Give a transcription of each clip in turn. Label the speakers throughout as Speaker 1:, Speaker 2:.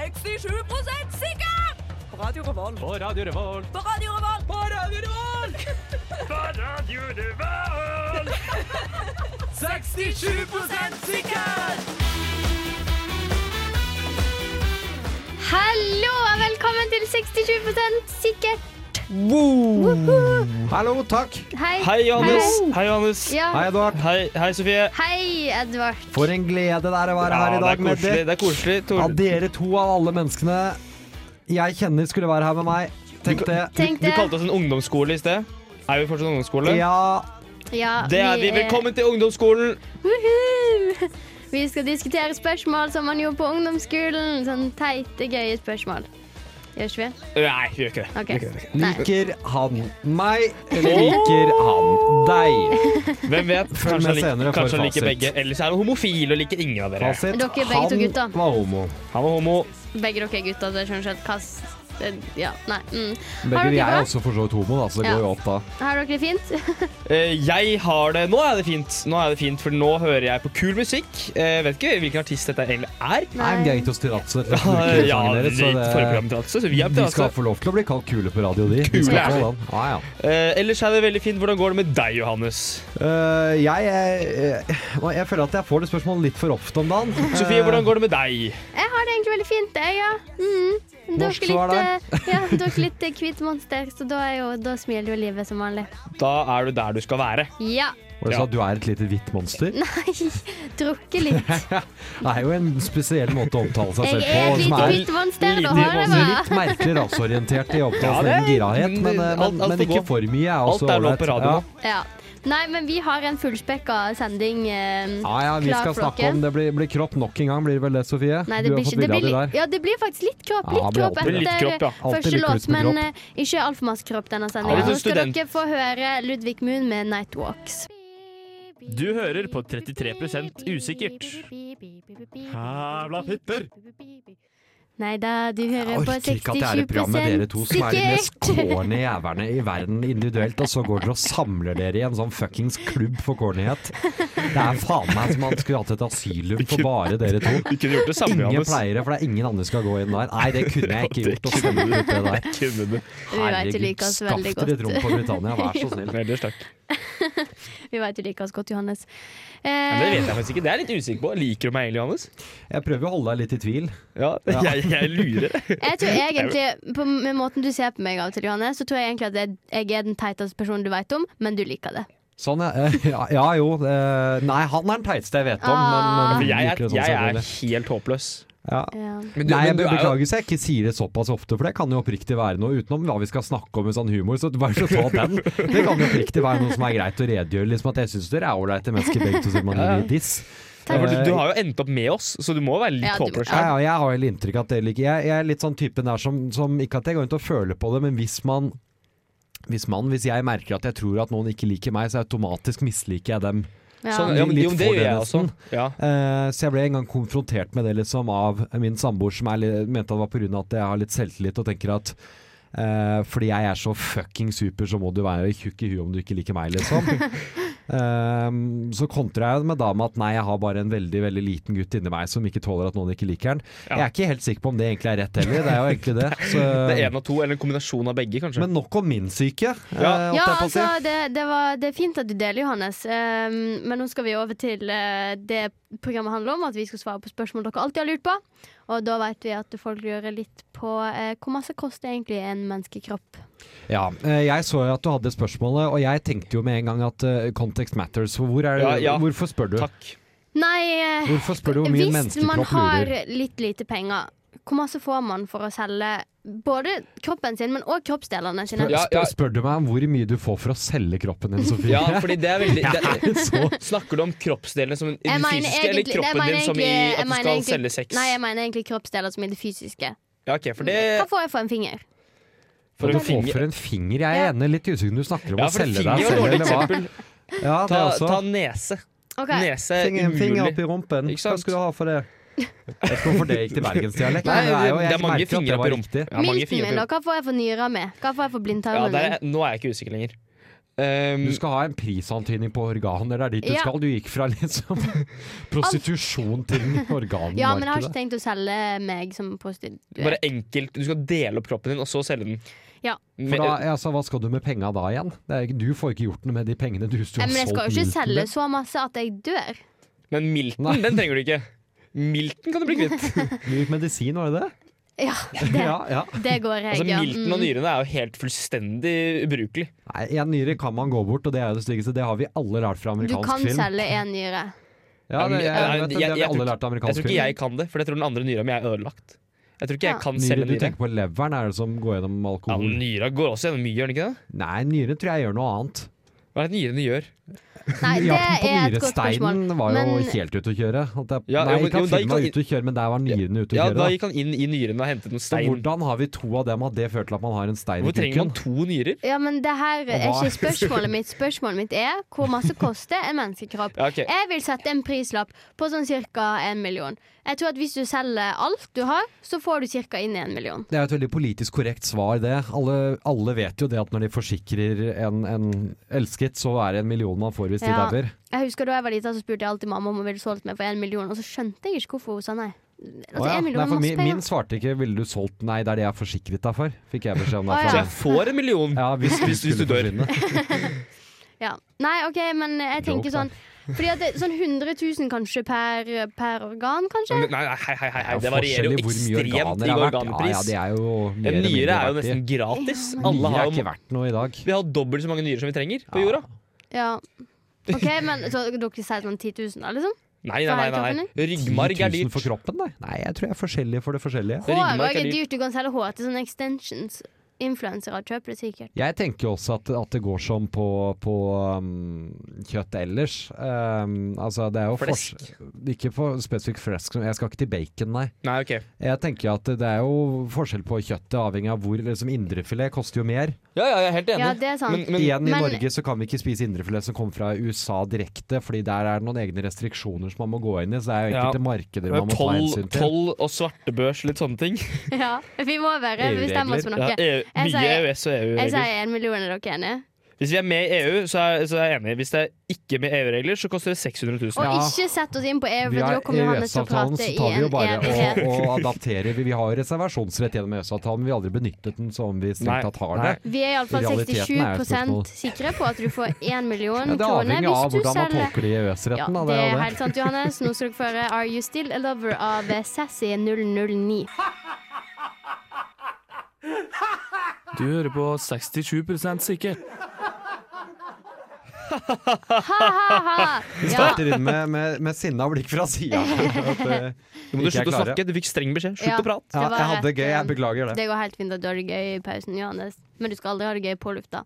Speaker 1: 67 sikker! På Radio Revolt.
Speaker 2: På Radio Revolt.
Speaker 1: På Radio Revolt. På Radio Revolt!
Speaker 2: 67 sikker!
Speaker 3: Hallo og velkommen til 67 sikkert.
Speaker 4: Hallo, takk.
Speaker 3: Hei.
Speaker 5: Hei, Johannes. Hei, Johannes.
Speaker 3: Ja.
Speaker 4: Hei, Edvard.
Speaker 5: Hei, hei, Sofie.
Speaker 3: Hei, Edvard.
Speaker 4: For en glede det er å være her i
Speaker 5: det er
Speaker 4: dag med
Speaker 5: koselig.
Speaker 4: dere.
Speaker 5: Det er koselig. Tor-
Speaker 4: Av dere to av alle menneskene jeg kjenner skulle være her med meg. Tenk det.
Speaker 3: Tenk
Speaker 5: Du
Speaker 3: det.
Speaker 5: kalte oss en ungdomsskole i sted. Er vi fortsatt en ungdomsskole?
Speaker 4: Ja,
Speaker 3: Ja,
Speaker 5: Det er vi. Velkommen til ungdomsskolen.
Speaker 3: Woohoo! Vi skal diskutere spørsmål som man gjorde på ungdomsskolen. Sånn teite, gøye spørsmål. Gjør ikke vi?
Speaker 5: Nei, vi gjør ikke det.
Speaker 3: OK. Nei.
Speaker 4: liker han meg, eller liker han deg?
Speaker 5: Hvem vet?
Speaker 4: Følg med
Speaker 5: Kanskje han
Speaker 4: senere
Speaker 5: liker,
Speaker 4: for
Speaker 5: kanskje han liker
Speaker 4: fasit.
Speaker 5: begge. Ellers er han homofil og liker ingen av dere.
Speaker 4: Fasit.
Speaker 3: Dere er begge to gutter.
Speaker 4: Han var homo.
Speaker 5: Han var homo.
Speaker 3: Begge dere er gutter, så jeg skjønner ikke helt hva s- det- Ja, nei. Mm. Har
Speaker 4: Begge
Speaker 3: dere
Speaker 4: de
Speaker 3: det
Speaker 4: er
Speaker 3: bra?
Speaker 4: også for så vidt homo, da, så det
Speaker 3: Ja.
Speaker 4: går jo opp da.
Speaker 3: Har dere det fint?
Speaker 5: Eh, Jeg har det Nå er det fint, Nå er det fint, for nå hører jeg på kul musikk. Jeg vet ikke hvilken artist dette egentlig er.
Speaker 4: I'm gay to stilatse.
Speaker 5: Ja, litt forrige program til Atse, så vi er på
Speaker 4: de skal
Speaker 5: Atse.
Speaker 4: få lov til å bli kalt kule på radio, de. de
Speaker 5: Kule
Speaker 4: skal
Speaker 5: er
Speaker 4: få
Speaker 5: vi.
Speaker 4: den. Ja, ja.
Speaker 5: Eh, Ellers er det veldig fint. Hvordan går det med deg, Johannes?
Speaker 4: Øh, jeg, jeg, jeg føler at jeg får det spørsmålet litt for ofte om dagen.
Speaker 5: Sofie, hvordan går det med deg?
Speaker 3: Jeg har det egentlig veldig fint, jeg, ja. Mm. Dere
Speaker 4: Norsk
Speaker 3: er
Speaker 4: svar
Speaker 3: litt, eh, ja, dere er litt eh, kvitt monster, så da, er jo, da smiler jo livet som vanlig.
Speaker 5: Da er du der du skal være.
Speaker 3: Ja.
Speaker 4: Var det
Speaker 5: Ja.
Speaker 4: sånn at du er et lite hvitt monster?
Speaker 3: Nei, drukket litt.
Speaker 4: Det er jo en spesiell måte å omtale seg
Speaker 3: Jeg
Speaker 4: selv
Speaker 3: er
Speaker 4: på.
Speaker 3: et
Speaker 4: Som
Speaker 3: lite
Speaker 4: er
Speaker 3: hvitt monster,
Speaker 5: lite
Speaker 3: og har det
Speaker 5: monster.
Speaker 3: bra.
Speaker 4: litt merkelig raseorientert i
Speaker 5: Ja,
Speaker 4: opptalen
Speaker 5: det er-
Speaker 4: girahet, men, eh,
Speaker 5: alt-
Speaker 4: men,
Speaker 5: alt
Speaker 4: men
Speaker 5: får
Speaker 4: ikke
Speaker 5: gå.
Speaker 4: for mye. Er
Speaker 5: Alt
Speaker 4: også
Speaker 5: er lov
Speaker 4: ålreit.
Speaker 5: på radio nå.
Speaker 3: Ja. Nei, men vi har en fullspekka sending. eh,
Speaker 4: Ja, ja, ja, vi
Speaker 3: Klar
Speaker 4: skal
Speaker 3: for
Speaker 4: snakke
Speaker 3: dere.
Speaker 4: om det blir, blir kropp nok en gang, blir det vel det, Sofie?
Speaker 3: Nei, det
Speaker 4: du
Speaker 3: blir
Speaker 4: har
Speaker 3: ikke det
Speaker 4: fått bilde
Speaker 3: blir,
Speaker 4: av de
Speaker 3: litt-
Speaker 4: der.
Speaker 3: Ja, det blir faktisk litt kropp.
Speaker 4: Ja,
Speaker 3: Litt
Speaker 4: det blir
Speaker 3: kropp
Speaker 4: alltid
Speaker 3: etter
Speaker 5: litt kropp, ja.
Speaker 4: Alltid
Speaker 3: første
Speaker 4: litt
Speaker 3: låt,
Speaker 4: klutt med
Speaker 3: men
Speaker 4: kropp.
Speaker 3: eh, ikke altfor masse kropp denne
Speaker 5: Ja,
Speaker 3: sendingen.
Speaker 5: litt
Speaker 3: Nå skal
Speaker 5: student.
Speaker 3: dere få høre Ludvig Moon med Nightwalks.
Speaker 2: Du hører på 33% usikkert. Jævla fitter!
Speaker 3: Nei da, du hører
Speaker 4: Jeg
Speaker 3: på 67
Speaker 4: orker ikke at det er et program med dere to som er de mest corny jævlene i verden individuelt, og så går dere og samler dere i en sånn fuckings klubb for cornyhet. Det er faen meg som man skulle hatt et asylum for bare dere to.
Speaker 5: Vi kunne gjort det samme,
Speaker 4: Ingen
Speaker 5: Johannes.
Speaker 4: pleiere, for det er ingen andre som skal gå inn der. Nei, det kunne jeg ikke
Speaker 5: Ja, det
Speaker 4: gjort. å stemme ut det der.
Speaker 5: Kunne du.
Speaker 3: Vi vet du liker oss
Speaker 4: skaff
Speaker 3: veldig
Speaker 4: dere et rom
Speaker 3: godt.
Speaker 4: på Britannia, vær så snill.
Speaker 5: Ellers takk.
Speaker 3: Eh. Vi vet du liker oss godt, Johannes.
Speaker 5: Men det vet
Speaker 3: Eh,
Speaker 5: jeg faktisk ikke. Det er jeg litt usikker på. Liker du meg egentlig, Johannes?
Speaker 4: Jeg prøver å holde deg litt i tvil.
Speaker 5: Ja, Jeg, jeg lurer.
Speaker 3: jeg tror egentlig, på, Med måten du ser på meg av og til, Johannes, så tror jeg egentlig at jeg, jeg er den teiteste personen du vet om, men du liker det.
Speaker 4: Sånn, ja. Eh, Ja, ja jo. eh, Nei, han er den teiteste jeg vet om,
Speaker 3: Ah.
Speaker 4: men, men
Speaker 5: For jeg er,
Speaker 4: liker det sånn
Speaker 5: jeg er
Speaker 4: selvfølgelig.
Speaker 5: helt håpløs.
Speaker 4: Ja.
Speaker 3: Ja.
Speaker 5: du-
Speaker 4: Nei,
Speaker 5: men
Speaker 4: jeg
Speaker 5: du er jo-
Speaker 4: beklager så jeg ikke sier det såpass ofte, for det kan jo oppriktig være noe utenom hva vi skal snakke om med sånn humor, så bare så ta den. Det kan jo oppriktig være noe som er greit å redegjøre, liksom at jeg syns dere er ålreite mennesker begge to, siden man gir de diss.
Speaker 5: Ja, for du,
Speaker 4: Eh,
Speaker 5: du har jo endt opp med oss, så du må være litt
Speaker 3: Ja, du må-
Speaker 5: håpløs.
Speaker 4: Ja,
Speaker 5: her.
Speaker 4: ja, jeg har jo litt inntrykk av at dere liker jeg, jeg er litt sånn typen der som, som Ikke at jeg går rundt og føler på det, men hvis man hvis, man, hvis jeg merker at jeg tror at noen ikke liker meg, så automatisk misliker jeg dem.
Speaker 3: Ja.
Speaker 5: Sånn, ja, men, jo, men det
Speaker 4: Litt
Speaker 5: gjør jeg også.
Speaker 4: fordelesen.
Speaker 5: Ja.
Speaker 4: Eh, så jeg ble en gang konfrontert med det liksom av min samboer, som er, litt- mente at det var pga. at jeg har litt selvtillit og tenker at eh, fordi jeg er så fucking super, så må du være tjukk i huet om du ikke liker meg, liksom. Eh, så kontra jeg med da med at nei, jeg har bare en veldig veldig liten gutt inni meg som ikke tåler at noen ikke liker den.
Speaker 5: Ja.
Speaker 4: Jeg er ikke helt sikker på om det egentlig er rett heller, det er jo egentlig det. Så,
Speaker 5: Det er én av to, eller en kombinasjon av begge, kanskje.
Speaker 4: men nok om min syke. eh,
Speaker 5: Ja.
Speaker 4: holdt
Speaker 3: Ja,
Speaker 4: jeg på å si.
Speaker 3: altså, det, det, var, det er fint at du deler, Johannes. Ehm, men nå skal vi over til eh, det programmet handler om, at vi skal svare på spørsmål dere alltid har lurt på. Og da vet vi at folk lurer litt på eh, hvor masse koster egentlig en menneskekropp.
Speaker 4: Ja, eh, jeg så jo at du hadde spørsmålet, og jeg tenkte jo med en gang at eh, context matters. Hvor er,
Speaker 5: Ja, ja.
Speaker 4: Hvorfor spør du?
Speaker 5: Takk.
Speaker 3: Nei, eh,
Speaker 4: Hvorfor spør du hvor mye
Speaker 3: hvis man
Speaker 4: menneskekropp
Speaker 3: har
Speaker 4: lurer?
Speaker 3: litt lite penger, hvor masse får man for å selge både kroppen sin, men òg kroppsdelene sine?
Speaker 4: Spør,
Speaker 5: Ja, ja.
Speaker 4: spør, spør du meg om hvor mye du får for å selge kroppen din, Sofie?
Speaker 5: Ja, fordi det er veldig det,
Speaker 4: Jeg er så
Speaker 5: Snakker du om kroppsdelene som den
Speaker 3: Jeg mener
Speaker 5: fysiske, eller
Speaker 3: egentlig- jeg
Speaker 5: kroppen
Speaker 3: mener
Speaker 5: din som i
Speaker 3: egentlig- jeg
Speaker 5: at du
Speaker 3: mener
Speaker 5: skal
Speaker 3: egentlig-
Speaker 5: selge sex?
Speaker 3: Nei, jeg mener egentlig kroppsdeler som i det fysiske.
Speaker 5: Ja, ok, for det
Speaker 3: Hva får jeg for en finger?
Speaker 5: For
Speaker 4: for
Speaker 5: en
Speaker 4: å få
Speaker 5: finger.
Speaker 4: for en finger. Jeg er enig, litt usikker når du snakker om
Speaker 5: Ja,
Speaker 4: å
Speaker 5: for
Speaker 4: selge
Speaker 5: finger
Speaker 4: deg
Speaker 5: var
Speaker 4: selv,
Speaker 5: dårlig
Speaker 4: eller hva?
Speaker 5: eksempel.
Speaker 4: Ja, det
Speaker 5: Ta,
Speaker 4: også.
Speaker 5: ta nese.
Speaker 3: Ok.
Speaker 5: Nese er
Speaker 4: Finger-
Speaker 5: umulig.
Speaker 4: i rumpen.
Speaker 5: Ikke sant?
Speaker 4: ha for det? Jeg vet ikke hvorfor det gikk til bergensdialekt.
Speaker 5: Nei,
Speaker 4: men det er jo-
Speaker 5: det
Speaker 4: jeg
Speaker 5: er mange
Speaker 4: merker at
Speaker 5: fingre
Speaker 4: det var
Speaker 5: oppi rumpa.
Speaker 4: riktig.
Speaker 5: Ja, mange
Speaker 3: Milten
Speaker 5: fingre
Speaker 3: min,
Speaker 5: oppi
Speaker 3: og hva får jeg for nyra med? Hva får jeg for
Speaker 5: Ja,
Speaker 3: blindtarmen
Speaker 5: der,
Speaker 3: min?
Speaker 5: er- nå er jeg ikke usikker lenger. Um,
Speaker 4: Du skal ha en prisantydning på organer. Det er dit du
Speaker 3: Ja.
Speaker 4: skal. Du gikk fra liksom prostitusjon til organmarkedet.
Speaker 3: Ja, men jeg har ikke tenkt å selge meg som prostituert.
Speaker 5: bare enkelt, du skal dele opp kroppen din, og så selge den.
Speaker 3: Ja.
Speaker 5: Men-
Speaker 4: For da, altså, hva skal du med penga da igjen? Det er, ikke- du får ikke gjort noe med de pengene du, hvis du
Speaker 3: Eh,
Speaker 4: har
Speaker 3: Men jeg
Speaker 4: solgt
Speaker 3: skal jo ikke
Speaker 4: milten
Speaker 3: selge
Speaker 4: din.
Speaker 3: så masse at jeg dør.
Speaker 5: Men milten,
Speaker 4: Nei.
Speaker 5: den trenger du ikke. Milten kan du bli kvitt.
Speaker 4: Du gikk medisin, var det det?
Speaker 3: Ja, det,
Speaker 4: Ja, ja.
Speaker 3: det går jeg.
Speaker 5: Altså,
Speaker 3: ja.
Speaker 5: milten og
Speaker 3: Mm.
Speaker 5: nyrene er jo helt fullstendig ubrukelig.
Speaker 4: Nei, En nyre kan man gå bort, og det er jo det styggeste. Det har vi alle lært fra
Speaker 3: Du
Speaker 4: amerikansk
Speaker 3: kan
Speaker 4: film.
Speaker 3: selge én nyre.
Speaker 4: Ja, det, jeg,
Speaker 5: Nei,
Speaker 4: vet det, det
Speaker 5: jeg-
Speaker 4: har vi
Speaker 5: jeg tror
Speaker 4: alle
Speaker 5: ikke-
Speaker 4: lært av
Speaker 5: Jeg
Speaker 4: amerikansk
Speaker 5: tror ikke jeg kan det, for jeg tror den andre nyra mi er ødelagt. Jeg tror ikke jeg
Speaker 3: Ja.
Speaker 5: kan
Speaker 4: Nyre,
Speaker 5: selge
Speaker 4: du
Speaker 5: nyre.
Speaker 4: tenker på leveren, er det som går gjennom
Speaker 5: Ja,
Speaker 4: alkohol?
Speaker 5: men Nyra går også gjennom mye, gjør den ikke det?
Speaker 4: Nei, nyre tror jeg gjør noe annet.
Speaker 5: Hva er det nyrene gjør?
Speaker 3: Nei, det
Speaker 4: Jakten på
Speaker 3: er et godt spørsmål.
Speaker 4: nyresteinen var jo
Speaker 3: Men-
Speaker 4: helt ute å kjøre. At jeg,
Speaker 5: Ja, ja,
Speaker 4: nei,
Speaker 5: men-
Speaker 4: ikke
Speaker 5: jo,
Speaker 4: at
Speaker 5: da gikk
Speaker 4: filmen var
Speaker 5: han-
Speaker 4: ute å kjøre, men der var nyrene ute å
Speaker 5: Ja,
Speaker 4: kjøre.
Speaker 5: Da
Speaker 4: da.
Speaker 5: gikk han inn i nyrene og hentet en
Speaker 4: Så
Speaker 5: stein.
Speaker 4: hvordan har vi to av dem, at det fører til at man har en stein
Speaker 5: Hvor
Speaker 4: i
Speaker 5: trenger man
Speaker 4: kukken?
Speaker 5: to nyrer?
Speaker 3: Ja, men det her er
Speaker 4: hva-
Speaker 3: ikke spørsmålet mitt. Spørsmålet mitt er hvor masse koster en menneskekropp?
Speaker 5: Ja, ok.
Speaker 3: Jeg vil sette en prislapp på sånn ca. en million. Jeg tror at hvis du selger alt du har, så får du ca. inn i en million.
Speaker 4: Det er jo et veldig politisk korrekt svar, det. Alle, alle vet jo det at når de forsikrer en, en elsket, så er det en million man får hvis
Speaker 3: Ja.
Speaker 4: de dauer.
Speaker 3: Jeg husker Da jeg var liten, så spurte jeg alltid mamma om hun ville solgt meg for en million, og så skjønte jeg ikke hvorfor hun sa nei. Altså,
Speaker 4: Å ja.
Speaker 3: en million
Speaker 4: Nei,
Speaker 3: er
Speaker 4: for
Speaker 3: masse
Speaker 4: min, min
Speaker 3: penger.
Speaker 4: svarte ikke 'ville du solgt', nei, det er det jeg har forsikret deg for, fikk jeg beskjed om
Speaker 3: Å
Speaker 4: derfra.
Speaker 5: Så
Speaker 3: ja.
Speaker 5: jeg får en million.
Speaker 4: Ja, hvis,
Speaker 5: Hvis- hvis du
Speaker 4: skulle
Speaker 5: dør.
Speaker 4: forsvinne.
Speaker 3: Ja. Nei, OK, men jeg tenker
Speaker 4: Joke,
Speaker 3: sånn Fordi at det, Sånn 100 000 kanskje per, per organ, kanskje?
Speaker 5: Men- Nei, nei, hei, hei, hei, hei.
Speaker 4: Ja,
Speaker 5: Det varierer
Speaker 4: forskjell
Speaker 5: jo
Speaker 4: i hvor mye
Speaker 5: ekstremt i
Speaker 4: organer det har vært.
Speaker 5: organpris.
Speaker 4: Ja, ja, det er jo mer
Speaker 5: En
Speaker 4: eller
Speaker 5: nyre
Speaker 4: mindre
Speaker 5: er jo
Speaker 4: verdt i.
Speaker 5: nesten gratis.
Speaker 3: Ja,
Speaker 5: Alle
Speaker 4: Nyre
Speaker 5: har jo
Speaker 4: er ikke verdt noe i dag.
Speaker 5: Vi har dobbelt så mange nyrer som vi trenger på jorda.
Speaker 3: Ja. OK, men så dere sier sånn 10 000, da, liksom?
Speaker 5: Nei, nei, nei. nei, nei. Ryggmarg er dyrt.
Speaker 4: 10 000 for kroppen, nei. Nei, jeg tror jeg er forskjellig for det forskjellige.
Speaker 5: Det er
Speaker 3: Hår
Speaker 5: ryggmark,
Speaker 3: også er
Speaker 5: eller-
Speaker 3: dyrt. Du kan selge hår til sånne extensions. Influensere kjøper det sikkert.
Speaker 4: Jeg tenker jo også at, at det går som på, på um, kjøtt ellers. Um, altså, det er jo
Speaker 5: Flesk.
Speaker 4: fors- Ikke for spesifikt flesk. Jeg skal ikke til bacon, nei.
Speaker 5: Nei, ok.
Speaker 4: Jeg tenker at det er jo forskjell på kjøttet, avhengig av hvor liksom indrefilet koster jo mer.
Speaker 5: Ja, ja, jeg er helt enig.
Speaker 3: Ja, det er sant.
Speaker 5: Men, men
Speaker 4: Igjen, i
Speaker 3: men-
Speaker 4: Norge så kan vi ikke spise indrefilet som kommer fra USA direkte, fordi der er det noen egne restriksjoner som man må gå inn i, så det er jo
Speaker 5: Ja.
Speaker 4: enkelte markeder man må ta
Speaker 5: toll,
Speaker 4: hensyn til.
Speaker 5: toll og svartebørs, litt sånne ting.
Speaker 3: Ja, vi må være
Speaker 4: EU-regler.
Speaker 3: bestemme oss for
Speaker 5: Ja,
Speaker 3: noe.
Speaker 5: EU,
Speaker 3: Jeg
Speaker 5: mye
Speaker 3: sier-
Speaker 5: EØS og
Speaker 3: Jeg
Speaker 5: EU-regler.
Speaker 3: sier en million, er dere enige?
Speaker 5: Hvis vi er med i EU, så er, så er jeg enig. Hvis det er ikke med EU-regler, så koster det 600 000.
Speaker 3: Og
Speaker 4: Ja.
Speaker 3: ikke sett oss inn på EU,
Speaker 4: Vi
Speaker 3: for
Speaker 4: har
Speaker 3: da kommer Johannes til å
Speaker 4: EØS-avtalen,
Speaker 3: prate
Speaker 4: så
Speaker 3: i
Speaker 4: tar vi jo
Speaker 3: en
Speaker 4: bare
Speaker 3: evighet.
Speaker 4: og, og adapterer. Vi, vi har reservasjonsrett gjennom EØS-avtalen, men vi har aldri benyttet den som vi
Speaker 5: Nei.
Speaker 4: strengt tatt har det.
Speaker 5: Nei.
Speaker 3: Vi er iallfall
Speaker 4: Realiteten er jo
Speaker 3: 67
Speaker 4: spørsmålet.
Speaker 3: sikre på at du får én million
Speaker 4: Ja, det
Speaker 3: kroner
Speaker 4: avhenger av
Speaker 3: hvis du
Speaker 4: hvordan man
Speaker 3: selger
Speaker 4: tolker det i
Speaker 3: ja,
Speaker 4: EØS-retten. da,
Speaker 3: det
Speaker 4: det er
Speaker 3: er
Speaker 4: jo det.
Speaker 3: helt sant, Johannes. Nå skal dere få høre Are You Still a Lover av Sassy 009.
Speaker 2: Du hører på 67 sikkert.
Speaker 3: Ha-ha-ha! Ja,
Speaker 4: Starter inn med, med, med sinna blikk fra eh, sida.
Speaker 5: Du må slutte å snakke. Du fikk streng beskjed. Slutt
Speaker 3: Ja.
Speaker 5: å prate.
Speaker 4: Ja,
Speaker 3: Det var
Speaker 4: jeg hadde det
Speaker 3: rett,
Speaker 4: gøy, jeg
Speaker 3: eh,
Speaker 4: beklager det.
Speaker 3: det går helt fint at du har det gøy i pausen, Johannes. Men du skal aldri ha det gøy på lufta.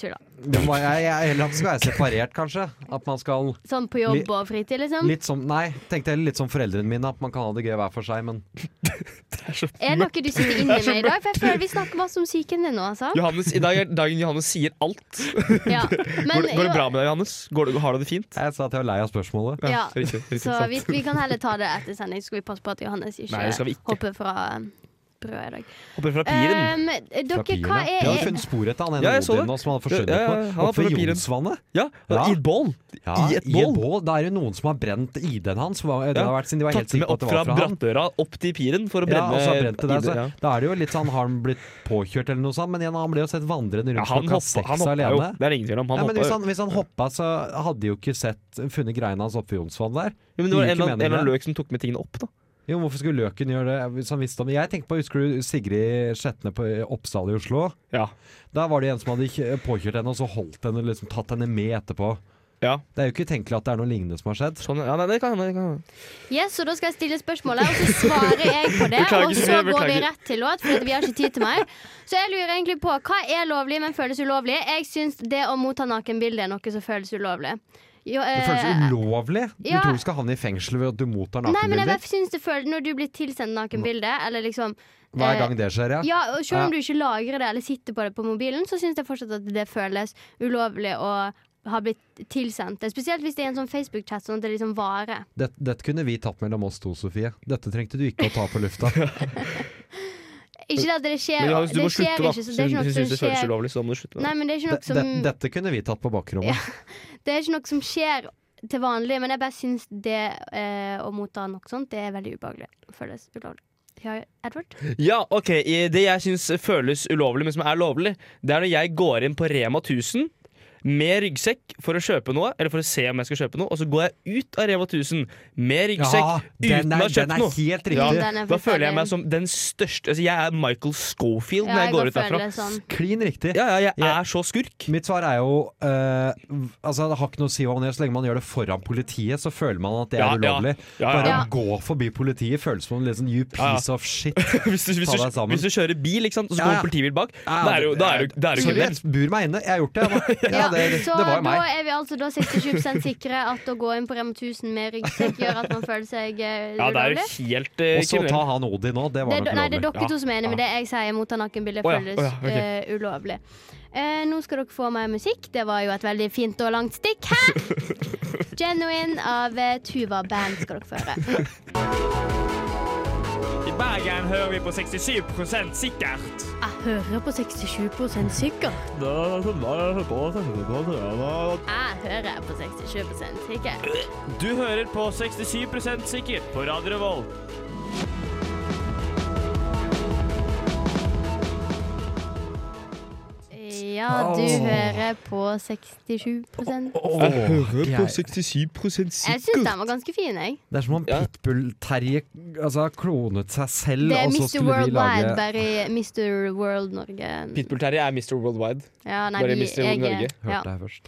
Speaker 3: Tulla.
Speaker 4: det må, jeg, jeg, eller at det skal være separert, kanskje. At man skal
Speaker 3: Sånn på jobb
Speaker 4: Litt-
Speaker 3: og fritid, liksom.
Speaker 4: litt som Nei, tenkte jeg litt som foreldrene mine, at man kan ha det gøy hver for seg, men
Speaker 3: Er det noe du sitter inne med i dag? For jeg føler vi snakker masse om psyken din nå, altså.
Speaker 5: Johannes, I dag er dagen Johannes sier alt.
Speaker 3: Ja.
Speaker 5: Går,
Speaker 3: Men,
Speaker 5: det- går det bra med deg, Johannes? Går det, har du det fint?
Speaker 4: jeg sa at jeg var lei av spørsmålet.
Speaker 3: Ja.
Speaker 5: Riktig, riktig,
Speaker 3: Så
Speaker 5: sant.
Speaker 3: vi, vi kan heller ta det etter sending. Skal vi passe på at Johannes ikke,
Speaker 5: Nei, det skal vi ikke.
Speaker 3: hopper fra eh, brødet i dag.
Speaker 5: Hopper fra piren.
Speaker 3: Um, dere,
Speaker 4: Papirene.
Speaker 3: hva
Speaker 4: De hadde
Speaker 3: er
Speaker 4: funnet spor etter han ene
Speaker 5: Ja, jeg så
Speaker 4: odinen
Speaker 5: det.
Speaker 4: nå, som han hadde forsvunnet
Speaker 5: Ja, ja, ja, han
Speaker 4: på.
Speaker 5: var
Speaker 4: Oppe
Speaker 5: på
Speaker 4: ved
Speaker 5: papiren.
Speaker 4: Jonsvannet.
Speaker 5: Ja,
Speaker 4: Ja.
Speaker 5: i et bål.
Speaker 4: Ja,
Speaker 5: I et bål.
Speaker 4: Da er det noen som har brent ID-en hans. Hva- Det
Speaker 5: Ja,
Speaker 4: har vært siden de var helt
Speaker 5: Tatt
Speaker 4: sikre
Speaker 5: med
Speaker 4: på at
Speaker 5: opp
Speaker 4: det
Speaker 5: fra
Speaker 4: var fra han.
Speaker 5: brattøra opp til piren for å
Speaker 4: Ja,
Speaker 5: brenne
Speaker 4: og så har han brent det altså.
Speaker 5: ID,
Speaker 4: der, så
Speaker 5: ja.
Speaker 4: Da er det jo litt sånn, har han blitt påkjørt eller noe sånt? Men igjen, han ble jo sett vandrende
Speaker 5: Ja,
Speaker 4: rundt
Speaker 5: han
Speaker 4: klokka
Speaker 5: hoppa, han
Speaker 4: seks
Speaker 5: hoppa jo.
Speaker 4: alene.
Speaker 5: Det er det ingen tvil om. Han
Speaker 4: Nei, men
Speaker 5: hoppa jo.
Speaker 4: liksom, hvis han, hvis han hoppa, så hadde de jo ikke sett, funnet greiene hans oppe ved Jonsvann der.
Speaker 5: Ja, men det var
Speaker 4: gir
Speaker 5: en
Speaker 4: ikke
Speaker 5: eller annen- en eller
Speaker 4: mening,
Speaker 5: annen
Speaker 4: det.
Speaker 5: løk som tok med tingene opp, da.
Speaker 4: Jo, Hvorfor skulle Løken gjøre det hvis han visste om det? Jeg tenkte på, Husker du Sigrid Skjetne på eh, Oppsal i Oslo?
Speaker 5: Ja.
Speaker 4: Da var det en som hadde kjø- påkjørt henne og så holdt henne liksom tatt henne med etterpå.
Speaker 5: Ja,
Speaker 4: Det er jo ikke utenkelig at det er noe lignende som har skjedd.
Speaker 5: sånn, ja nei, det kan hende. det kan hende.
Speaker 3: Yes, så da skal jeg stille spørsmålet, og så svarer jeg på det.
Speaker 5: Beklager,
Speaker 3: og så går vi
Speaker 5: beklager.
Speaker 3: rett til låt, for vi har ikke tid til mer. Så jeg lurer egentlig på hva er lovlig, men føles ulovlig. Jeg syns det å motta nakenbilde er noe som føles ulovlig. Jo,
Speaker 4: Det
Speaker 3: eh,
Speaker 4: føles ulovlig.
Speaker 3: ja.
Speaker 4: Du tror du skal havne i fengsel ved at du mottar
Speaker 3: Nei, men jeg
Speaker 4: nakenbilder.
Speaker 3: bare syns det føles Når du blir tilsendt nakenbilde, eller liksom
Speaker 4: Hver
Speaker 3: eh,
Speaker 4: gang det skjer, ja.
Speaker 3: Ja, og selv
Speaker 4: Ja.
Speaker 3: om du ikke lagrer det eller sitter på det på mobilen, så syns jeg fortsatt at det føles ulovlig å ha blitt tilsendt det. Spesielt hvis det er en sånn Facebook-chat, sånn at det liksom varer.
Speaker 4: Dette, dette kunne vi tatt mellom oss to, Sofie. Dette trengte du ikke å ta på lufta.
Speaker 3: Ikke det at det skjer,
Speaker 5: Men Johannes, du
Speaker 3: det
Speaker 5: må
Speaker 3: skjer
Speaker 5: slutte, da.
Speaker 3: ikke, så
Speaker 5: Hvis
Speaker 3: det er
Speaker 5: du
Speaker 3: ikke noe
Speaker 5: syns
Speaker 3: som
Speaker 5: det føles
Speaker 3: skjer
Speaker 5: ulovlig, så må du slutte. med
Speaker 3: Nei,
Speaker 5: det.
Speaker 3: men det er ikke
Speaker 4: De,
Speaker 3: noe som,
Speaker 4: de, dette kunne vi tatt på bakrommet.
Speaker 3: det er ikke noe som skjer til vanlig, men jeg bare syns det eh, å motta noe sånt, det er veldig ubehagelig. Føles ulovlig. Ja, Edward?
Speaker 5: Ja, ok, i- Det jeg syns føles ulovlig, men som er lovlig, det er når jeg går inn på Rema 1000 med ryggsekk for å kjøpe noe, eller for å se om jeg skal kjøpe noe, og så går jeg ut av Rema 1000 med ryggsekk uten
Speaker 4: den
Speaker 5: å ha
Speaker 4: er,
Speaker 5: kjøpt
Speaker 4: den er
Speaker 5: noe.
Speaker 4: helt
Speaker 3: Ja,
Speaker 4: riktig.
Speaker 3: eh, den er
Speaker 5: Da føler jeg
Speaker 3: forferdelig.
Speaker 5: meg som den største Altså, jeg er Michael Schofield
Speaker 3: Ja,
Speaker 5: når
Speaker 3: jeg
Speaker 5: jeg går
Speaker 3: går
Speaker 5: ut derfra.
Speaker 3: føler det sånn.
Speaker 4: Klin riktig.
Speaker 5: Ja, ja, jeg
Speaker 4: Ja.
Speaker 5: er så skurk.
Speaker 4: Mitt svar er jo eh, altså Det har ikke noe å si hva man gjør. Så lenge man gjør det foran politiet, så føler man at det er
Speaker 5: Ja, ja.
Speaker 4: ulovlig.
Speaker 5: Ja,
Speaker 4: Bare
Speaker 5: ja.
Speaker 4: å gå forbi politiet føles som en litt sånn you
Speaker 5: Ja, ja.
Speaker 4: piece of shit.
Speaker 5: Hvis, du, hvis,
Speaker 4: Ta
Speaker 5: du,
Speaker 4: deg sammen.
Speaker 5: hvis du kjører bil, ikke sant, og så
Speaker 4: Ja,
Speaker 5: kommer
Speaker 4: ja.
Speaker 5: en politibil bak,
Speaker 4: Ja,
Speaker 5: da er du- da er du- da er du
Speaker 4: Sorry,
Speaker 5: kriminell.
Speaker 4: jeg bur meg inne. Jeg har gjort det. jeg da. Ja, det, det
Speaker 3: så
Speaker 4: var jo
Speaker 3: da
Speaker 4: meg.
Speaker 3: er vi altså da 67 sikre at å gå inn på Rema 1000 med ryggsekk gjør at man føler seg eh,
Speaker 5: Ja, det er jo
Speaker 3: ulovlig?
Speaker 5: helt eh,
Speaker 4: Og så
Speaker 5: kriminell.
Speaker 4: ta han Odin nå. Det
Speaker 3: Det,
Speaker 4: var nok
Speaker 3: nei, det er
Speaker 4: ulovlig.
Speaker 3: dere
Speaker 5: Ja,
Speaker 3: to som er enig med det jeg sier. Motta nakenbildet
Speaker 5: Å ja,
Speaker 3: føles
Speaker 5: å ja, ok.
Speaker 3: eh, ulovlig. Eh, nå skal dere få mer musikk. Det var jo et veldig fint og langt stikk. Hæ? Genuine av eh, Tuva Band skal dere få høre.
Speaker 6: I Bergen hører vi på 67 sikkert.
Speaker 3: Jeg hører på 67 sikkert. Jeg hører på 67 sikkert.
Speaker 6: Du hører på 67 sikkert på Radio Revolt.
Speaker 3: Ja, du hører på 67
Speaker 4: Åh, jeg-
Speaker 5: 67
Speaker 3: Jeg syns den var ganske fin, jeg.
Speaker 4: Det er som om
Speaker 5: Ja.
Speaker 4: Pitbull-Terje altså, har klonet seg selv,
Speaker 3: Det er
Speaker 4: og så
Speaker 3: Mr.
Speaker 4: skulle vi
Speaker 3: Worldwide,
Speaker 4: lage
Speaker 3: bare i Mr. World Norge.
Speaker 5: Pitbull-Terje er Mr. Worldwide.
Speaker 3: Ja, nei,
Speaker 5: bare
Speaker 3: vi-
Speaker 5: Mr. World
Speaker 3: jeg-
Speaker 5: Norge.
Speaker 4: Hørte
Speaker 3: Ja.
Speaker 4: deg først.